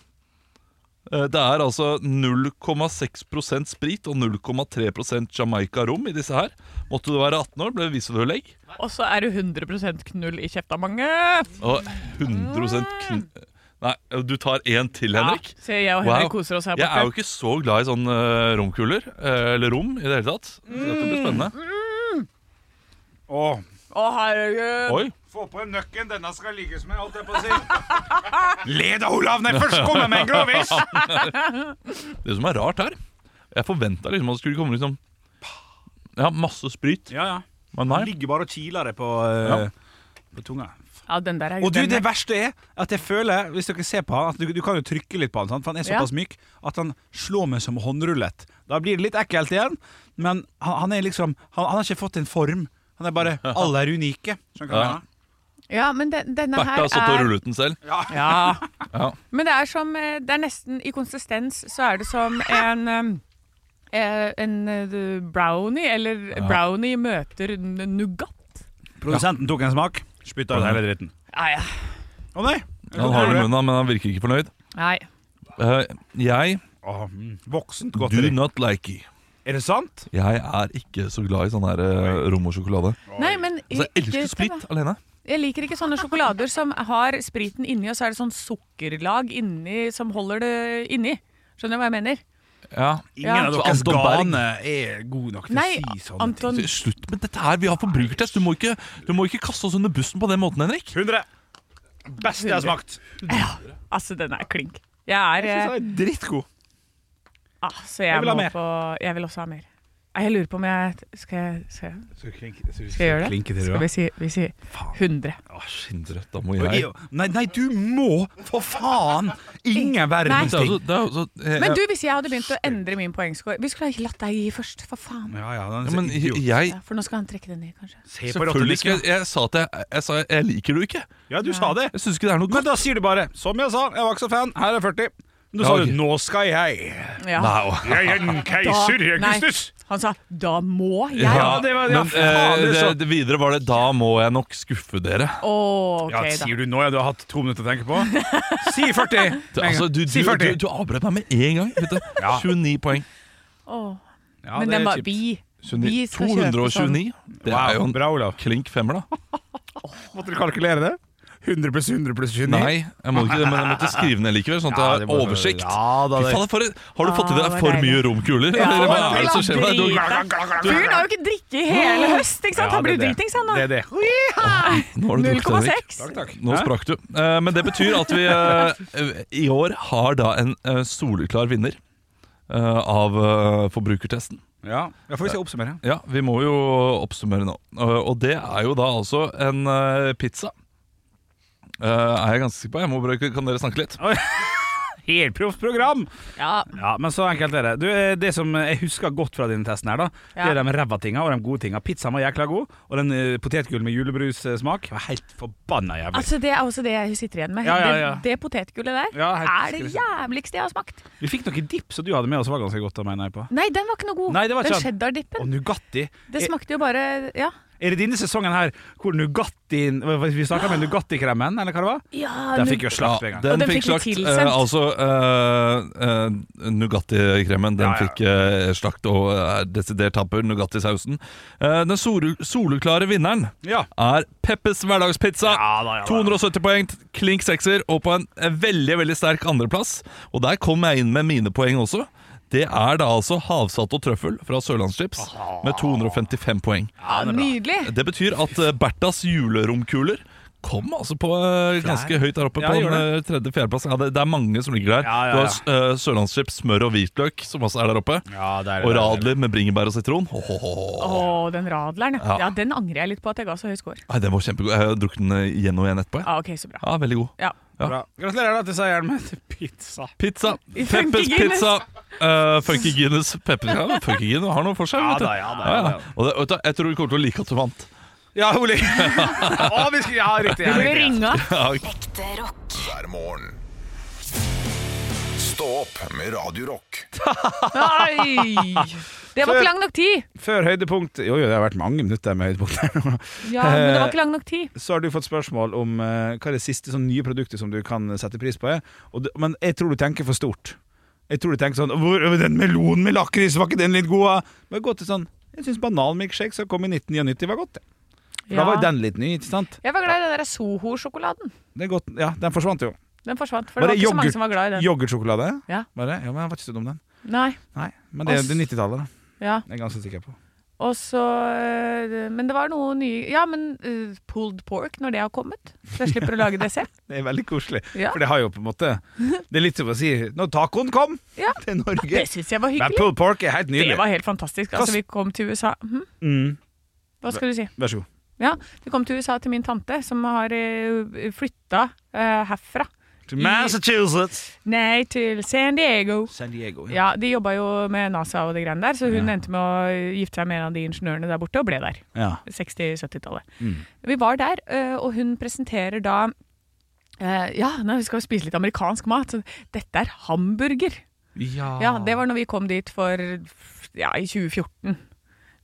Speaker 5: Eh, Det er altså 0,6 sprit og 0,3 Jamaica-rom i disse her. Måtte du være 18 år, ble visselølegg.
Speaker 2: Og så er det 100 knull i kjefta mange.
Speaker 5: Og 100 kn... Nei, du tar én til, Henrik.
Speaker 2: Se, jeg og Henrik
Speaker 5: Wow.
Speaker 2: koser oss her
Speaker 5: Jeg er jo
Speaker 2: borte.
Speaker 5: ikke så glad i sånne eh, romkuler, eh, eller rom i det hele tatt. Så dette blir spennende.
Speaker 1: Åh.
Speaker 2: Å, herregud.
Speaker 5: Oi,
Speaker 1: Få på en nøkken, denne skal ligges med, holdt jeg på å si. Le da, Olav, når jeg først kommer med en grovis!
Speaker 5: Det som er rart her Jeg forventa liksom at det skulle komme liksom Ja, masse spryt.
Speaker 1: Ja, ja.
Speaker 5: Men
Speaker 1: Han
Speaker 5: nei.
Speaker 1: ligger bare og kiler det på,
Speaker 5: Ja.
Speaker 1: ø, på tunga.
Speaker 2: Ja, den der er
Speaker 1: Og du,
Speaker 2: den
Speaker 1: det
Speaker 2: er-
Speaker 1: verste er at jeg føler Hvis dere ser på han at du, du kan jo trykke litt på han, sant? for han er
Speaker 2: Ja.
Speaker 1: såpass myk at han slår meg som håndrullet. Da blir det litt ekkelt igjen, men han, han er liksom Han, han har ikke fått en form. Han er bare Alle er unike. Skjønner du hva jeg
Speaker 5: Ja.
Speaker 1: mener?
Speaker 2: Ja, men den, denne
Speaker 5: Bertha
Speaker 2: her
Speaker 5: har sittet
Speaker 2: er
Speaker 5: og rullet den selv.
Speaker 2: Ja.
Speaker 5: Ja.
Speaker 2: Men det er som eh, Det er nesten I konsistens så er det som en eh, eh, en eh, brownie, eller brownie møter n- nougat.
Speaker 1: Produsenten tok en smak, spytta ut hele dritten.
Speaker 2: Nei, ja.
Speaker 1: Å nei!
Speaker 5: Han har det i munnen, men han virker ikke fornøyd.
Speaker 2: Nei.
Speaker 5: Eh, jeg
Speaker 1: Åh, mm, voksent
Speaker 5: do
Speaker 1: godteri.
Speaker 5: not like it.
Speaker 1: Er det sant?
Speaker 5: Jeg er ikke så glad i sånn her eh, rom og sjokolade.
Speaker 2: Nei, men
Speaker 5: Altså, jeg
Speaker 2: ikke-
Speaker 5: elsker sprit alene.
Speaker 2: Jeg liker ikke sånne sjokolader som har spriten inni, og så er det sånn sukkerlag inni som holder det inni. Skjønner du hva jeg mener?
Speaker 5: Ja.
Speaker 1: Ingen
Speaker 2: Ja.
Speaker 1: av
Speaker 5: Så
Speaker 1: deres
Speaker 5: Anton Berg-
Speaker 1: gane er god nok til
Speaker 2: Nei,
Speaker 1: å si sånne ting.
Speaker 2: Anton.
Speaker 5: Slutt med dette her. Vi har forbrukertest. Du må, ikke, du må ikke kaste oss under bussen på den måten, Henrik.
Speaker 1: 100. Beste jeg har smakt.
Speaker 2: Altså, den er klink. Jeg er eh,
Speaker 1: Den er Drittgod.
Speaker 2: ah, Så jeg,
Speaker 1: Jeg vil ha
Speaker 2: må
Speaker 1: mer.
Speaker 2: på Jeg vil også ha mer. Nei, Jeg lurer på om jeg Skal jeg, skal jeg, skal jeg gjøre det?
Speaker 1: Klinke til
Speaker 2: Skal vi si, vi si 100?
Speaker 5: Å, Sindre, da må jeg
Speaker 1: Nei, nei, du må! For faen! Ingen verdens
Speaker 5: Det er
Speaker 1: ting.
Speaker 5: jo så- det er jo så- eh, jeg-
Speaker 2: Men du, hvis jeg hadde begynt å endre min poengscore Vi skulle ha latt deg gi først, for faen.
Speaker 1: Ja, ja, den
Speaker 5: Ja,
Speaker 1: er så
Speaker 5: men
Speaker 1: idiot.
Speaker 5: Altså, jeg
Speaker 2: Ja, for nå skal han trekke den ned, kanskje.
Speaker 1: Se på
Speaker 5: Selvfølgelig ikke.
Speaker 1: rotteliska.
Speaker 5: Jeg, jeg sa at jeg, jeg, sa, jeg liker det jo ikke.
Speaker 1: Ja, du sa det.
Speaker 5: Jeg syns ikke det er noe
Speaker 1: Men
Speaker 5: godt.
Speaker 1: da sier du bare 'Som jeg sa, jeg var ikke så fan. Her er 40'. Men du
Speaker 5: Ja,
Speaker 1: sa
Speaker 5: ok.
Speaker 1: jo 'Nå skal jeg'.
Speaker 2: Ja.
Speaker 5: Nei,
Speaker 1: Jeg er en keiser, Augustus.
Speaker 2: Han sa 'da må jeg'.
Speaker 5: ja,
Speaker 2: Ja.
Speaker 1: det var- ja,
Speaker 5: men
Speaker 1: faen,
Speaker 5: eh,
Speaker 1: det
Speaker 5: det,
Speaker 1: er så-
Speaker 5: det videre var det 'da må jeg nok skuffe dere'.
Speaker 2: Å, ok,
Speaker 1: Ja,
Speaker 2: da.
Speaker 1: sier du nå? Ja, du har hatt to minutter å tenke på. Si 40!
Speaker 5: Du, altså, du, du,
Speaker 1: si
Speaker 5: du,
Speaker 1: 40.
Speaker 5: du avbrøt meg med én gang. Vet du.
Speaker 1: Ja.
Speaker 5: 29 poeng.
Speaker 2: Åh.
Speaker 1: Ja,
Speaker 2: Men
Speaker 1: det
Speaker 2: den
Speaker 1: er
Speaker 2: var
Speaker 1: kjipt.
Speaker 2: vi. Vi
Speaker 5: 29.
Speaker 2: skal kjøpe
Speaker 5: 229. Det er jo
Speaker 1: Wow,
Speaker 5: en
Speaker 1: bra, Olav.
Speaker 5: klink femmer, da.
Speaker 1: Måtte du kalkulere det? 100 pluss 100 pluss 29?
Speaker 5: Nei, jeg må ikke det, men jeg måtte skrive ned likevel, sånn at
Speaker 1: Ja,
Speaker 5: jeg
Speaker 1: det
Speaker 5: har
Speaker 1: må-
Speaker 5: oversikt.
Speaker 1: Ja, da,
Speaker 5: Fy
Speaker 1: det-
Speaker 5: faen, for, har du fått i
Speaker 2: Ah,
Speaker 5: deg
Speaker 2: det var
Speaker 5: for
Speaker 2: deilig.
Speaker 5: mye romkuler?
Speaker 2: Ja,
Speaker 5: Eller hva er det som
Speaker 2: han
Speaker 5: skjer med deg? Du-
Speaker 2: driter. Fyren har jo ikke drikket i hele høst, ikke sant?
Speaker 1: Ja,
Speaker 2: Han
Speaker 1: det
Speaker 2: blir
Speaker 1: er det.
Speaker 2: dritings,
Speaker 1: Det
Speaker 2: han da.
Speaker 1: er det.
Speaker 5: Nå har du drukket, Henrik.
Speaker 2: 0,6.
Speaker 5: Nå
Speaker 1: Hæ?
Speaker 5: sprakk du. Eh, men det betyr at vi eh, i år har da en eh, soleklar vinner eh, av eh, forbrukertesten.
Speaker 1: Ja, ja får vi se oppsummere.
Speaker 5: Ja, vi må jo oppsummere nå. Eh, og det er jo da altså en eh, pizza. Eh, er jeg ganske sikker på. Jeg må bare, kan dere snakke litt?
Speaker 1: helproft program!
Speaker 2: Ja.
Speaker 1: Ja, men så enkelt er det. Du, eh, det som jeg husker godt fra denne testen, her da Det
Speaker 2: Ja.
Speaker 1: er de ræva tinga og de gode tinga. Pizzaen var jækla god, og den eh, potetgull med julebrussmak var helt forbanna jævlig.
Speaker 2: Altså, Det er også det jeg sitter igjen med.
Speaker 1: Ja, ja, ja.
Speaker 2: Det, det potetgullet der
Speaker 1: Ja, helt
Speaker 2: er det
Speaker 1: skrevet.
Speaker 2: jævligste jeg har smakt.
Speaker 1: Vi fikk noen dips, og du hadde med oss var ganske godt, da, mener jeg på.
Speaker 2: Nei, den var ikke noe god.
Speaker 1: Nei, det var ikke
Speaker 2: den
Speaker 1: den.
Speaker 2: cheddardippen.
Speaker 1: Og Nugatti.
Speaker 2: Det smakte jo bare Ja,
Speaker 1: Er det denne sesongen her hvor Nugatti Vi snakka med Nugatti-kremen, eller hva det var?
Speaker 2: ja
Speaker 1: Den fikk jo slakt med en gang.
Speaker 2: Og den fikk vi tilsendt.
Speaker 5: eh, altså eh, eh, Nugatti-kremen. Den
Speaker 1: Ja, ja.
Speaker 5: fikk eh, slakt og er desidert tapper. Nugatti-sausen. Eh, den solu- soleklare vinneren
Speaker 1: Ja.
Speaker 5: er Peppes hverdagspizza.
Speaker 1: Ja da, ja da.
Speaker 5: 270 poeng, klink sekser, og på en eh, veldig veldig sterk andreplass. Og der kom jeg inn med mine poeng også. Det er da altså havsalt og trøffel fra Sørlandschips med 255 poeng.
Speaker 2: Nydelig.
Speaker 5: Det betyr at eh, Berthas juleromkuler kom altså på eh, ganske høyt der oppe.
Speaker 1: Ja,
Speaker 5: på
Speaker 1: gjør
Speaker 5: en, eh, tredje, fjerdeplass. Ja, det, det er mange som ligger der.
Speaker 1: Ja, ja,
Speaker 5: Du
Speaker 1: ja.
Speaker 5: har uh, Sørlandschips, smør og hvitløk, som også er der oppe.
Speaker 1: Ja, det er det, det
Speaker 5: og
Speaker 1: er
Speaker 5: radler med bringebær og sitron. Ho, ho, ho.
Speaker 2: Å, den radleren.
Speaker 5: Ja.
Speaker 2: Ja. ja, Den angrer jeg litt på at jeg ga så høy score.
Speaker 5: Nei, den var kjempegod. Jeg har drukket den eh, igjen og igjen etterpå. jeg.
Speaker 2: Ja, ok, så bra.
Speaker 5: Ja, veldig god.
Speaker 2: Ja.
Speaker 1: Bra. Gratulerer da til seieren med pizza.
Speaker 5: Pizza.
Speaker 2: I Funky
Speaker 5: Peppers
Speaker 2: Guinness.
Speaker 5: pizza. Eh, funky Guinness. Pepper. Ja, funky Guinness har noe for seg.
Speaker 1: Ja
Speaker 5: vet du.
Speaker 1: da, ja da, ja da.
Speaker 5: Og det, vet du, jeg tror du kommer til å like at du vant.
Speaker 1: Ja, Ole. Å, vi skal, ja, riktig. Ja,
Speaker 2: Du ble
Speaker 1: riktig.
Speaker 2: ringa.
Speaker 3: Ekte rock.
Speaker 4: hver morgen. Stå opp med Radio Rock.
Speaker 2: Nei! Det var ikke lang nok tid.
Speaker 1: Før høydepunkt Jo, jo, det har vært mange minutter med høydepunkt.
Speaker 2: Ja, men det var ikke lang nok tid.
Speaker 1: Så har du fått spørsmål om eh, hva er det siste sånn, nye produktet som du kan sette pris på. Er. Og du, men jeg tror du tenker for stort. Jeg tror du tenker sånn Hvor, Den melonen med lakris, var ikke den litt god? da?» Men gå til sånn Jeg syns bananmilkshake som kom i 1999, var godt. det. For Da
Speaker 2: Ja.
Speaker 1: var jo den litt ny, ikke sant?
Speaker 2: Jeg var glad i den der Soho-sjokoladen.
Speaker 1: Det er godt. Ja, den forsvant jo.
Speaker 2: Den forsvant, for det var ikke så mange som var glad i den.
Speaker 1: yoghurtsjokolade?
Speaker 2: Ja.
Speaker 1: Var det? Ja, men jeg var ikke så dum, den.
Speaker 2: Nei,
Speaker 1: Nei, men det, er- det er 90-tallet, da.
Speaker 2: ja.
Speaker 1: Det er jeg ganske sikker på.
Speaker 2: Og så øh, Men det var noe nye Ja, men øh, pulled pork når det har kommet. Så jeg slipper å lage det selv.
Speaker 1: Det er veldig koselig.
Speaker 2: Ja.
Speaker 1: For det har jo på en måte Det er litt som å si Når tacoen kom
Speaker 2: Ja.
Speaker 1: til Norge
Speaker 2: Det syns jeg var
Speaker 1: Men
Speaker 2: hyggelig.
Speaker 1: pulled pork er helt
Speaker 2: Det
Speaker 1: nydelig.
Speaker 2: var helt fantastisk. Altså, vi kom til USA Mhm.
Speaker 1: Mm.
Speaker 2: Hva skal du si?
Speaker 1: Vær så god.
Speaker 2: Ja, vi kom til USA til min tante, som har øh, flytta øh, herfra.
Speaker 1: Til Massachusetts.
Speaker 2: Nei, til San Diego.
Speaker 1: San Diego. Ja.
Speaker 2: Ja, De jobba jo med NASA og de greiene der, så hun
Speaker 1: Ja.
Speaker 2: endte med å gifte seg med en av de ingeniørene der borte, og ble der.
Speaker 1: Ja.
Speaker 2: 60-70-tallet.
Speaker 1: Mm.
Speaker 2: Vi var der, eh, og hun presenterer da eh, Ja, nei, vi skal jo spise litt amerikansk mat. Så dette er hamburger.
Speaker 1: ja.
Speaker 2: Ja, Det var når vi kom dit for Ja, i 2014.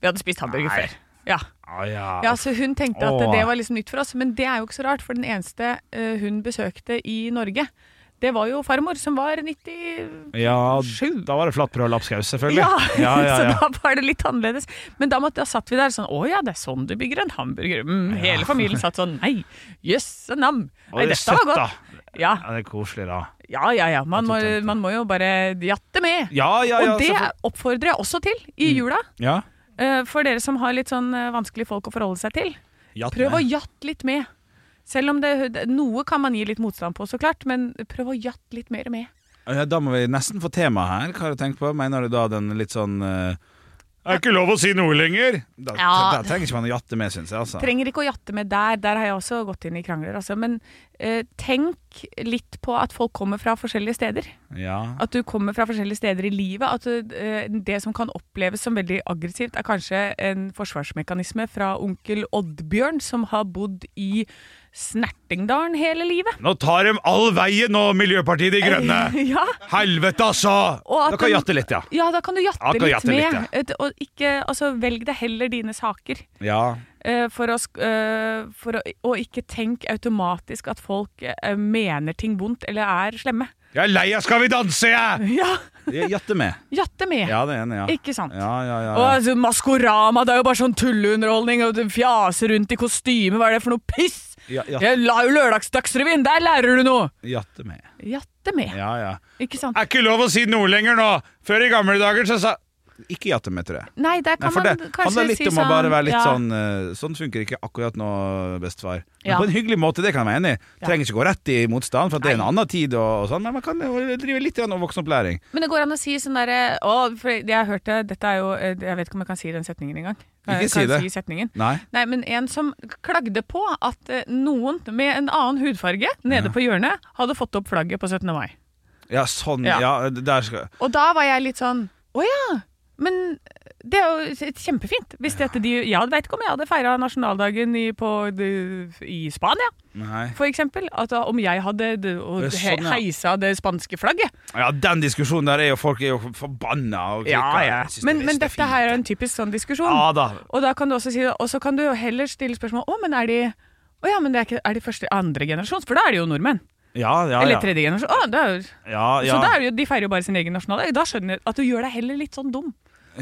Speaker 2: Vi hadde spist hamburger
Speaker 1: Nei.
Speaker 2: før. Ja.
Speaker 1: Ah, ja.
Speaker 2: ja, så Hun tenkte at
Speaker 1: Åh.
Speaker 2: det var liksom nytt for oss, men det er jo ikke så rart. For den eneste eh, hun besøkte i Norge, det var jo farmor, som var 90
Speaker 1: Ja,
Speaker 2: Sju.
Speaker 1: da var det flatbrød og lapskaus, selvfølgelig.
Speaker 2: Ja,
Speaker 1: ja, ja, ja.
Speaker 2: så da var det litt annerledes. Men da, måtte, da satt vi der sånn Å ja, det er sånn du bygger en hamburger. Mm, Hele familien satt sånn Nei, jøsse nam.
Speaker 1: Og
Speaker 2: Nei,
Speaker 1: det er
Speaker 2: dette var
Speaker 1: søtt,
Speaker 2: godt. Ja,
Speaker 1: Ja, det er koselig, da.
Speaker 2: ja, ja. ja. Man, må, man må jo bare jatte med.
Speaker 1: Ja, ja, ja.
Speaker 2: Og det
Speaker 1: selvfølgelig. Mm.
Speaker 2: oppfordrer jeg også til i jula.
Speaker 1: ja.
Speaker 2: eh, For dere som har litt sånn eh, vanskelige folk å forholde seg til.
Speaker 1: Ja,
Speaker 2: Prøv å jatte litt med. Selv om det, det- Noe kan man gi litt motstand på, så klart, men prøv å jatte litt mer med.
Speaker 1: Ja, Da må vi nesten få tema her. Hva har du tenkt på? Mener du da den litt sånn eh, er ikke lov å si noe lenger! Da,
Speaker 2: Ja.
Speaker 1: da trenger ikke man å jatte med, syns jeg. Altså.
Speaker 2: Trenger ikke å jatte med der, der har jeg også gått inn i krangler. Altså. Men eh, tenk litt på at folk kommer fra forskjellige steder.
Speaker 1: Ja.
Speaker 2: At du kommer fra forskjellige steder i livet. At eh, det som kan oppleves som veldig aggressivt, er kanskje en forsvarsmekanisme fra onkel Oddbjørn, som har bodd i Snertingdalen hele livet.
Speaker 1: Nå tar de all veien nå, Miljøpartiet De Grønne!
Speaker 2: ja.
Speaker 1: Helvete, altså!
Speaker 2: Og at
Speaker 1: Dere kan
Speaker 2: den-
Speaker 1: jatte litt, ja.
Speaker 2: ja, da kan du jatte
Speaker 1: Ja, kan
Speaker 2: litt
Speaker 1: jatte litt,
Speaker 2: med.
Speaker 1: ja.
Speaker 2: Et- Og ikke, altså, velg deg heller dine saker.
Speaker 1: Ja,
Speaker 2: Eh, for, å, sk- eh, for å, og ikke tenk automatisk at folk eh, mener ting vondt eller er slemme.
Speaker 1: Jeg er lei av Skal vi danse, jeg!
Speaker 2: Ja,
Speaker 1: Ja, Jatte med.
Speaker 2: Jatte med.
Speaker 1: Ja, det er enig, ja.
Speaker 2: Ikke sant?
Speaker 1: Ja, ja, ja.
Speaker 2: Og
Speaker 1: ja.
Speaker 2: altså, Maskorama det er jo bare sånn tulleunderholdning. og du Fjaser rundt i kostyme, hva er det for noe piss?
Speaker 1: Ja, ja.
Speaker 2: Jeg la jo Lørdagsdagsrevyen, der lærer du noe!
Speaker 1: Jatte med.
Speaker 2: Jatte med,
Speaker 1: Ja, ja.
Speaker 2: ikke sant?
Speaker 1: Er ikke lov å si noe lenger nå! Før i gamle dager så sa Ikke jatte med, tror jeg.
Speaker 2: Nei, der
Speaker 1: Nei,
Speaker 2: kan
Speaker 1: for det
Speaker 2: man kanskje
Speaker 1: handler litt
Speaker 2: si
Speaker 1: om å bare være litt
Speaker 2: ja,
Speaker 1: sånn eh, Sånn funker ikke akkurat nå, bestefar. Men
Speaker 2: Ja.
Speaker 1: på en hyggelig måte, det kan jeg være enig i.
Speaker 2: Ja.
Speaker 1: Trenger ikke gå rett i motstand, for at det er en annen tid og, og sånn, men man kan jo drive litt grann om voksenopplæring.
Speaker 2: Men det går an å si sånn derre Å, for jeg har hørt det, dette er jo eh, Jeg vet ikke om jeg kan si den setningen engang. Kan
Speaker 1: Ikke
Speaker 2: jeg-
Speaker 1: si
Speaker 2: kan jeg
Speaker 1: det.
Speaker 2: Si setningen?
Speaker 1: Nei.
Speaker 2: Nei, men en som klagde på at eh, noen med en annen hudfarge nede på hjørnet hadde fått opp flagget på 17. mai.
Speaker 1: Ja, sånn, ja.
Speaker 2: Ja.
Speaker 1: der skal
Speaker 2: Og da var jeg litt sånn Å ja, men det er jo et- kjempefint. Hvis dette de Jeg veit ikke om jeg hadde feira nasjonaldagen i, på, de- i Spania,
Speaker 1: Nei.
Speaker 2: for eksempel. At da- om jeg hadde de- og
Speaker 1: Det er sånn, ja.
Speaker 2: he- heisa det spanske flagget.
Speaker 1: Ja, den diskusjonen der er jo folk er jo forbanna og klikker. Jeg synes
Speaker 2: Men,
Speaker 1: det er
Speaker 2: men
Speaker 1: så
Speaker 2: dette
Speaker 1: fint.
Speaker 2: her er en typisk sånn diskusjon.
Speaker 1: Ja da.
Speaker 2: Og da kan du også si det, og så kan du jo heller stille spørsmål Å, men er de å ja, men det er, ikke, er de første andre generasjons? For da er de jo nordmenn.
Speaker 1: Ja, ja, ja.
Speaker 2: Eller tredje generasjon. Å, det er, jo-
Speaker 1: Ja, ja.
Speaker 2: Så da er det jo, de feirer jo bare sin egen nasjonaldag. Da skjønner jeg at du gjør deg heller litt sånn dum.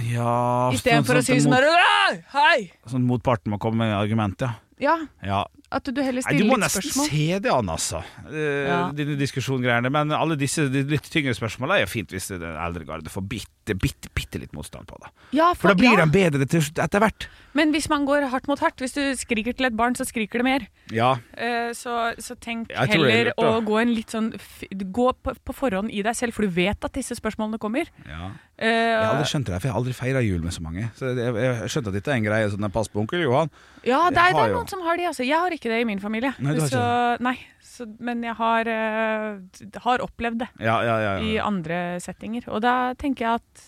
Speaker 1: ja,
Speaker 2: Istedenfor å si
Speaker 1: at
Speaker 2: sånn
Speaker 1: mot,
Speaker 2: der, «Åh, Hei!
Speaker 1: sånn motparten må komme med argument, ja.
Speaker 2: Ja,
Speaker 1: ja.
Speaker 2: at du heller
Speaker 1: Nei, du
Speaker 2: stiller
Speaker 1: må
Speaker 2: litt
Speaker 1: nesten
Speaker 2: spørsmål.
Speaker 1: se det an, altså. Eh,
Speaker 2: Ja.
Speaker 1: Dine diskusjongreiene. Men alle disse de litt tyngre spørsmåla er jo fint hvis den eldre garde får bitte, bitte, bitte litt motstand på det.
Speaker 2: Ja,
Speaker 1: For da blir
Speaker 2: ja.
Speaker 1: de bedre til, etter hvert.
Speaker 2: Men hvis man går hardt mot hardt, hvis du skriker til et barn, så skriker det mer.
Speaker 1: Ja.
Speaker 2: Eh, Så, så tenk
Speaker 1: Jeg tror det er
Speaker 2: heller
Speaker 1: lurt, da.
Speaker 2: å gå en litt sånn f- Gå på, på forhånd i deg selv, for du vet at disse spørsmålene kommer.
Speaker 1: ja.
Speaker 2: Eh,
Speaker 1: Jeg har aldri skjønt det, for jeg har aldri feira jul med så mange. Så jeg, jeg skjønte at dette er en greie sånn pass på onkel Johan.
Speaker 2: ja, det er,
Speaker 1: jeg
Speaker 2: det
Speaker 1: har
Speaker 2: er
Speaker 1: jo-
Speaker 2: noen som har de, altså. Jeg har ikke det i min familie.
Speaker 1: Nei, du har ikke
Speaker 2: så, nei, så, men jeg har, eh, d- har opplevd det
Speaker 1: Ja, ja, ja,
Speaker 2: i
Speaker 1: ja.
Speaker 2: andre settinger. Og da tenker jeg at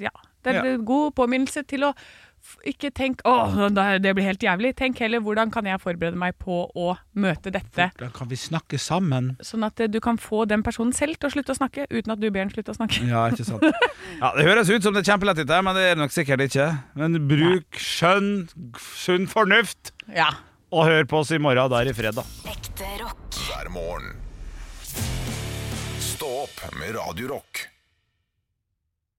Speaker 2: ja, det er
Speaker 1: Ja.
Speaker 2: en god påminnelse til å f- ikke tenke å, det blir helt jævlig. Tenk heller hvordan kan jeg forberede meg på å møte dette,
Speaker 1: Da kan vi snakke sammen.
Speaker 2: sånn at eh, du kan få den personen selv til å slutte å snakke uten at du ber den slutte å snakke.
Speaker 1: Ja, ikke sant. Ja, det høres ut som det er kjempelett, dette, men det er det nok sikkert ikke. Men bruk skjønn, sunn fornuft,
Speaker 2: Ja.
Speaker 1: og hør på oss i morgen. Da er det fredag.
Speaker 3: Ekte rock.
Speaker 4: hver morgen. Stå opp med Radio Rock.